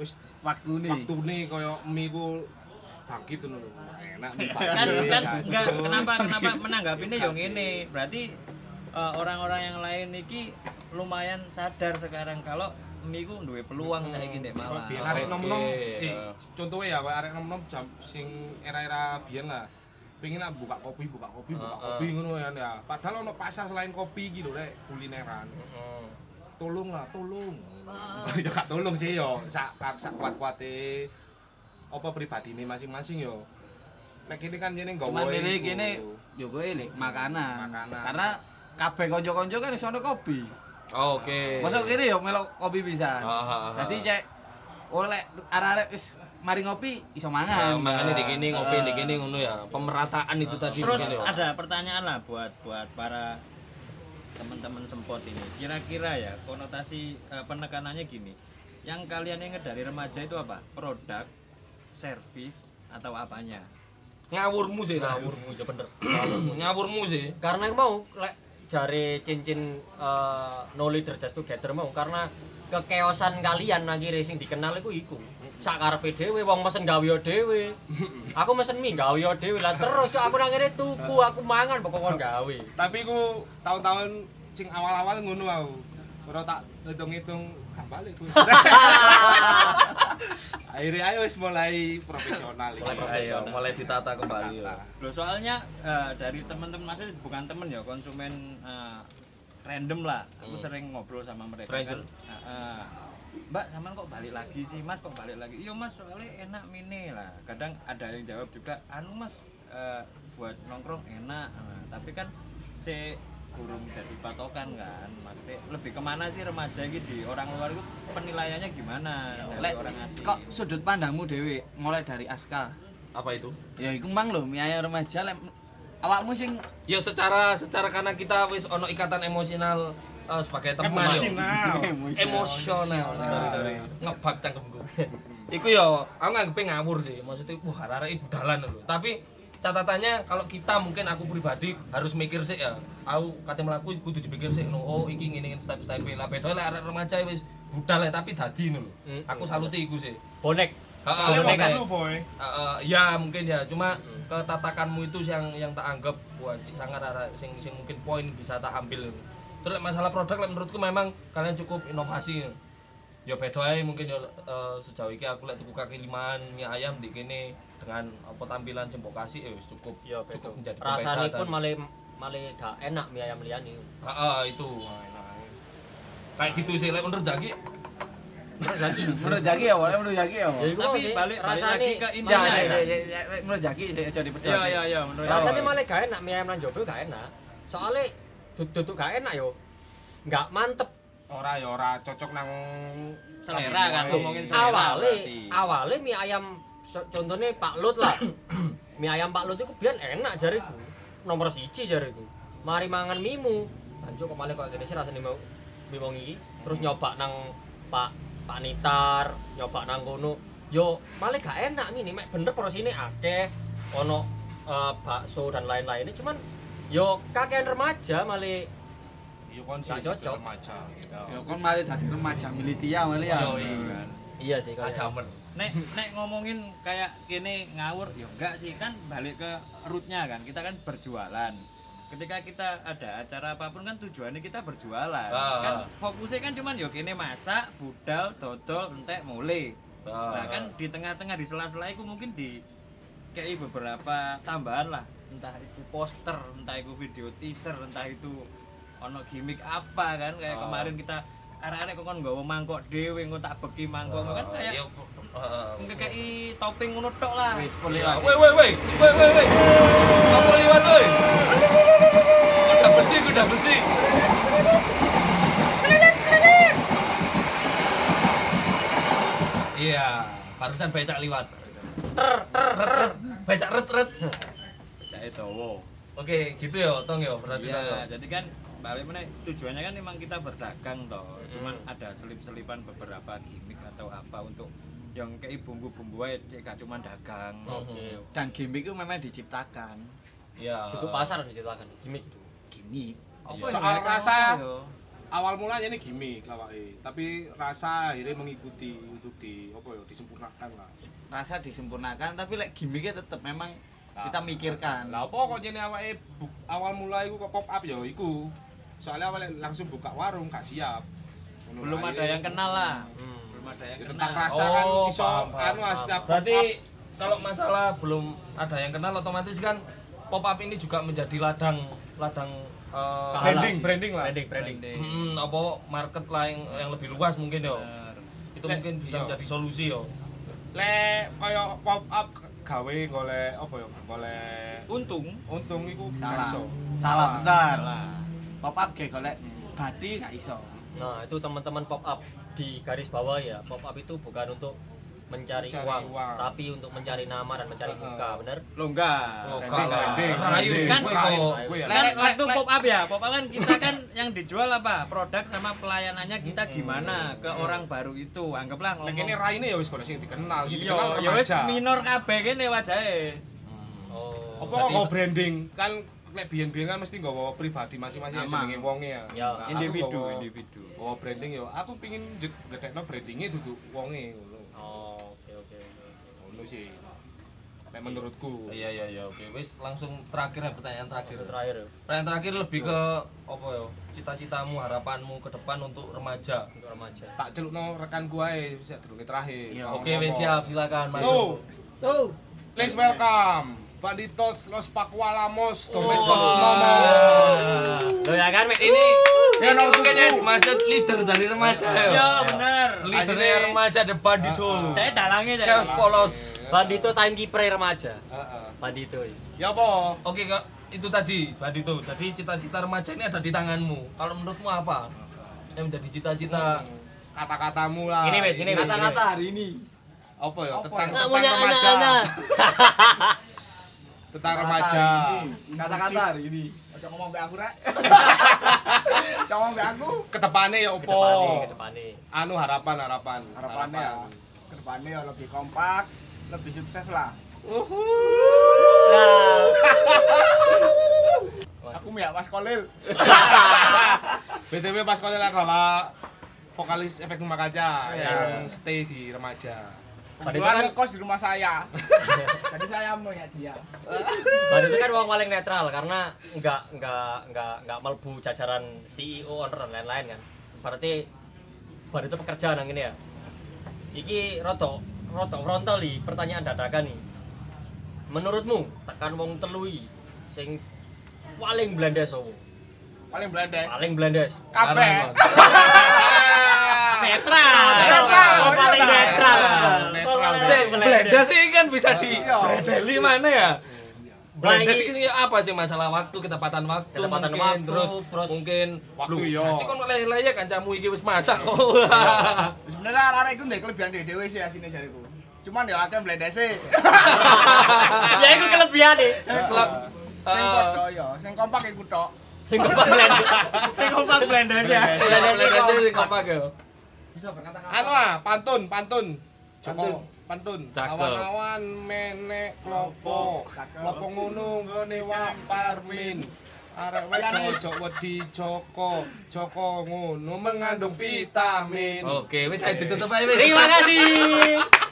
S4: wis
S5: Waktu nih.
S4: waktune koyo mie ku bangkit ngono lho enak mie bangkit
S6: kan kan
S4: bangkit.
S6: enggak kenapa kenapa menanggapinya yang ini berarti eh, orang-orang yang lain iki lumayan sadar sekarang kalau miku duwe peluang saya gini
S4: Kok
S6: malah
S4: biyen arek nom-nom
S2: Oke,
S4: eh
S2: eh.
S4: contohe ya koyo arek nom-nom jam sing era-era biyen lah pengen lah buka kopi buka kopi buka
S2: Ah, ah.
S4: kopi ngono ya ya. padahal ono pasar selain kopi gitu rek kulineran
S1: Hmm.
S2: Heeh.
S4: tolong lah tolong ya gak tolong sih yo sak sak kuat kuate apa pribadi ini masing-masing yo Nek ini kan jadi nggak
S5: Cuman milih kene yo kowe lek makanan.
S4: Makanan.
S5: Karena kabeh kanca-kanca kan iso ono kopi.
S2: Oh, Oke.
S5: Masuk kene yo melo kopi bisa.
S2: Ah, ah, ah.
S5: Dadi cek oleh arek-arek wis mari ngopi iso
S2: Oh,
S5: mangan.
S2: Mangan di kene, ngopi di
S5: Eh,
S2: kene ngono ya. Pemerataan itu tadi
S6: Terus
S2: mungkin, ya. yo.
S6: ada pertanyaan lah buat buat para teman-teman sempot ini. Kira-kira ya konotasi eh, penekanannya gini. Yang kalian ingat dari remaja itu apa? Produk, service atau apanya?
S2: ngawurmu sih lah.
S1: ngawurmu ya bener
S2: (clears throat) ngawurmu sih.
S1: karena mau lek jari cincin eh, no leader just together mau karena kekeosan kalian akhirnya sing dikenal iku iku sakarepe dhewe wong mesen gawe yo dhewe
S2: (laughs)
S1: aku mesen mie gawe yo dhewe lah terus cok, aku nang ngene tuku aku mangan pokoknya gawe
S4: tapi ku tahun-tahun sing awal-awal ngono aku ora tak hitung-hitung gak balik
S1: (laughs)
S4: ku akhirnya ayo wis mulai profesional
S1: Mulai
S4: iki.
S1: profesional.
S2: Ayo, Iya, mulai ditata kembali ya. yo.
S6: Loh, soalnya eh, dari teman-teman maksudnya bukan temen ya, konsumen eh, random lah. Aku
S5: Hmm.
S6: sering ngobrol sama mereka.
S2: Stranger.
S6: kan. Eh, eh, Mbak, sama kok balik lagi sih, Mas kok balik lagi? Iya Mas, soalnya enak mini lah. Kadang ada yang jawab juga, anu Mas eh, buat nongkrong enak, Eh, tapi kan si kurung jadi patokan kan. Maksudnya lebih kemana sih remaja ini di orang luar itu penilaiannya gimana dari
S5: Lek
S6: orang asing?
S5: kok sudut pandangmu dhewe mulai dari aska.
S2: Apa itu?
S5: Ya iku mang lho miyaya remaja lek awakmu sing
S2: Ya secara secara karena kita wis ono ikatan emosional eh, sebagai teman yo.
S5: (laughs)
S4: Emosional.
S2: emosional. Sorry sorry. Ngebak cangkemku. (laughs) Iku yo, aku nganggep ngawur sih. Maksudnya wah arek ibu dalan lho. Tapi catatannya kalau kita mungkin aku pribadi harus mikir sih ya. Aku kate mlaku kudu dipikir sih no, oh iki ngene ngene step-step e. lah bedo lah arek remaja wis budal lah tapi dadi ngono lho.
S1: Mm,
S2: Aku saluti iku sih.
S1: bonek
S2: Heeh,
S3: Soalnya
S2: bener
S3: waktu
S2: Hmm. kan?
S3: lu boy
S2: Uh, uh, ya mungkin ya cuma ketatakanmu itu sih yang yang tak anggap wah cik sangat arah sing sing mungkin poin bisa tak ambil terus like, masalah produk like, menurutku memang kalian cukup inovasi ya beda ae mungkin ya uh, sejauh ini aku lihat tuku kaki limaan mie ayam di kene dengan apa tampilan sing mbok kasih eh wis cukup
S1: yo
S2: cukup menjadi
S1: rasane
S2: pembeda
S1: pun
S2: dan-
S1: malah malah gak enak mie ayam liyane
S2: Ah, ah, itu Wah, enak ae. kayak gitu sih like, menurut Jaki
S1: terus lagi
S5: menurut Jaki ya, boleh menurut Jaki ya.
S1: ya iku
S6: Tapi
S1: mau sih,
S6: balik- balik
S1: rasane-
S6: lagi ke
S5: Ya, ya,
S6: intinya
S1: Jangan,
S5: ya, ya, ya, lek menurut Jaki aja dipedot.
S6: Iya, iya, iya, menurut
S1: rasanya
S6: aku.
S1: malah gak enak mie ayam lan jomblo gak enak soalnya duduk tuh gak enak yo nggak mantep
S4: Ora ya ora cocok nang
S6: Selera kan, ngomongin selera
S1: awalnya
S6: berarti.
S1: awalnya mie ayam so- contohnya Pak Lut lah (clears throat) mie ayam Pak Lut itu biar enak jariku nomor siji jariku mari mangan mimu anjo kok malah kok gini sih rasanya mau mie wong iki terus nyoba nang Pak Pak Nitar nyoba nang kono yo malah gak enak mie ini mek bener porsinya akeh ono eh, bakso dan lain-lainnya cuman yo kakean remaja malah
S4: yo kon sih
S1: Gak cocok.
S4: remaja gitu.
S5: Ya kon mari dadi remaja militia mali ya.
S2: yo iya
S1: iya sih kayaknya.
S2: ajamen
S6: nek nek ngomongin kayak gini ngawur ya enggak sih kan balik ke rootnya kan kita kan berjualan ketika kita ada acara apapun kan tujuannya kita berjualan
S2: Ah.
S6: kan fokusnya kan cuman ya kene masak budal dodol entek mulai
S2: Ah.
S6: nah kan di tengah-tengah di sela-sela itu mungkin di kayak beberapa tambahan lah entah itu poster entah itu video teaser entah itu ono gimmick apa kan
S2: Ah.
S6: kayak kemarin kita arek-arek kok kan nggawa mangkok dhewe engko tak beki mangkok kan kayak
S2: Yo, ya, eh,
S6: ngekei topping ngono tok lah.
S5: Wis boleh
S2: Ya,
S5: lah.
S2: Woi woi woi, woi woi woi. Kamu lewat woi. Udah bersih, udah bersih. Iya, barusan becak liwat. Ter, ter, ter, ter. Becak ret ret.
S6: Cake Jawa.
S2: Oke, gitu ya, tong ya, berarti ya.
S6: Iya, jadi kan balik meneh tujuannya kan memang kita berdagang toh. Cuman ada selip-selipan beberapa gimmick atau apa untuk yang kei bumbu-bumbu ae cek gak cuman dagang.
S2: Oke.
S5: Dan gimmick itu memang diciptakan.
S2: Iya.
S1: itu pasar diceritakan gimmick itu
S5: Gimmick.
S6: Apa
S4: Soal
S6: ya, cara
S4: rasa.
S6: apa ya?
S4: awal mulanya ini gimmick awake tapi rasa akhirnya mengikuti untuk di apa ya disempurnakan lah
S5: Rasa disempurnakan tapi lek gimmicknya tetap memang kita mikirkan.
S4: lah apa kok jadi awake bu- awal mula iku kok pop up ya iku soalnya awalnya langsung buka warung gak siap Ngono
S6: Belum
S4: wae.
S6: ada yang kenal lah. Belum ada yang
S4: Ya,
S6: kenal.
S4: tentang rasa kan
S2: Oh,
S4: iso
S2: paham, paham,
S4: anu ah,
S2: paham.
S4: setiap pop
S2: Berarti
S4: up
S2: kalau masalah belum ada yang kenal otomatis kan pop up ini juga menjadi ladang ladang eh,
S4: branding branding lah
S1: branding branding
S2: Hmm, apa market lah yang, yang lebih luas mungkin yo. Itu
S1: Eh,
S4: Lek,
S2: mungkin bisa
S4: iya.
S2: menjadi solusi yo.
S4: le kaya pop up gawe golek apa ya golek
S6: Untung
S4: untung iku gak
S5: Salah.
S4: iso.
S5: Salah besar.
S6: salah.
S5: Pop up ge golek badi gak iso.
S1: Nah, itu teman-teman pop up di garis bawah ya. Pop up itu bukan untuk mencari,
S4: Mencari
S1: uang,
S4: uang.
S1: tapi untuk mencari nama dan mencari
S4: Heeh.
S1: muka, bener?
S6: Lo enggak.
S2: Oh,
S4: Branding,
S2: kalah.
S4: branding,
S2: Rayu
S4: branding.
S6: kan?
S4: Kowe rayu,
S2: Kalau-
S4: kowe ya.
S6: Kan
S5: Lek, lek,
S6: waktu
S5: lek.
S6: pop up ya, pop up kan kita kan (laughs) yang dijual apa? Produk sama pelayanannya kita gimana ke orang baru itu. Anggaplah
S4: Lek ini
S6: ngomong.
S4: raine ya wis golek sing dikenal, sing
S6: Iya,
S4: dikenal
S6: ya wis
S4: remaja.
S6: minor kabeh kene wajahe.
S1: Oh.
S4: Apa kok nggo branding? Kan lek biyen-biyen kan mesti nggawa pribadi masing-masing ya
S5: Nama.
S4: jenenge wonge ya.
S1: Ya,
S4: Nah, aku
S6: Individu,
S4: nggawa-
S6: individu.
S4: nggawa branding ya aku pengin ngedekno brandinge dudu wonge ngono.
S1: Oh, oke oke. oke.
S4: Ngono sih. Lek menurutku.
S2: Iya iya iya oke wis langsung terakhir ya pertanyaan terakhir.
S1: Itu terakhir. ya,
S2: Pertanyaan terakhir lebih ke apa yo? Cita-citamu, harapanmu ke depan untuk remaja.
S1: Untuk remaja.
S4: Tak celukno rekanku ae sejak durunge terakhir.
S5: Iya.
S4: Ngomong
S2: Oke wis
S4: apa.
S2: siap silakan
S4: Tuh,
S2: masuk.
S5: Tuh.
S4: please welcome Banditos Los Pakualamos Domestos
S2: Wah.
S4: Momos.
S1: Lo ya kan, Mek?
S2: Ini
S4: Ya,
S2: ini
S4: nomor
S2: mungkin
S4: tujuh.
S2: yang dimaksud leader dari remaja yo.
S6: Ya bener.
S2: Leadernya remaja the bandito.
S6: Saya dalange saya.
S2: Chaos polos.
S1: Bandito timekeeper remaja.
S4: Heeh.
S1: Bandito. ya.
S4: Ya apa?
S2: Oke kak, itu tadi Bandito. Jadi cita-cita remaja ini ada di tanganmu. Kalau menurutmu apa? Yang menjadi cita-cita
S4: Kata-katamu lah.
S1: Ini wes, ini wes.
S5: Kata-kata hari ini.
S4: Apa ya?
S5: Apa
S4: Tentang
S5: ya?
S1: Nggak
S4: tentang
S1: punya
S4: remaja.
S1: anak-anak.
S4: (laughs) Tentang remaja.
S5: Kata-kata hari ini. Ojo ngomong mbek (laughs) aku rek. Cowok mbek aku.
S4: Kedepannya ya apa?
S1: Ketepani, ketepani.
S4: Anu harapan, harapan.
S5: Harapannya ya kedepannya ya lebih kompak, lebih sukses lah. Uhuh. Aku miak Mas Kolil.
S4: BTW pas kalian adalah vokalis efek rumah kaca
S5: Iya.
S4: yang stay di remaja.
S1: kan
S5: Kebetulan ngekos di rumah saya. Jadi saya mau ya dia.
S1: Bandito kan uang paling netral karena nggak nggak nggak nggak melbu jajaran CEO, owner dan lain-lain kan. Berarti Bandito pekerjaan yang ini ya. Iki roto roto frontal nih pertanyaan dadakan nih. Menurutmu tekan wong telui sing paling blendes opo?
S5: Paling Belanda.
S1: Paling blendes.
S5: Kabeh.
S6: Netral.
S1: Oh, paling netral.
S4: Netral.
S1: Sing
S2: Blendes sih kan bisa di
S5: Iya.
S2: bredeli mana ya? Blendes
S1: Blangi.
S2: sih apa sih masalah waktu, ketepatan waktu,
S1: Nah, Ketepatan
S2: mungkin.
S1: waktu,
S2: terus,
S1: terus- Oh.
S2: mungkin
S4: Waktu
S2: Lu,
S4: yo.
S2: Jadi kan lele-lele kan kamu iki wis masak
S1: Iya.
S2: kok.
S5: Sebenarnya arek itu ndek kelebihan dhewe sih asine jariku. Cuman ya akeh (laughs) bledese.
S1: (laughs) ya itu kelebihan nih.
S2: Klub,
S5: Sing
S2: eh,
S5: padha ya, sing kompak iku tok.
S1: Sing kompak blendes. Sing kompak blendes ya.
S2: Blendes sih apa yo?
S5: Bisa berkata-kata.
S4: Anu ah, pantun, pantun. Joko, pantun.
S2: Cakep.
S4: Awan-awan menek klopo.
S5: Cakep.
S4: Klopo ngono nggone waparmin. Arek wedok ojo wedi Joko. Joko ngono mengandung vitamin.
S1: Iya.
S2: Oke, wis ayo Eh, ditutup ae wis.
S1: Terima kasih.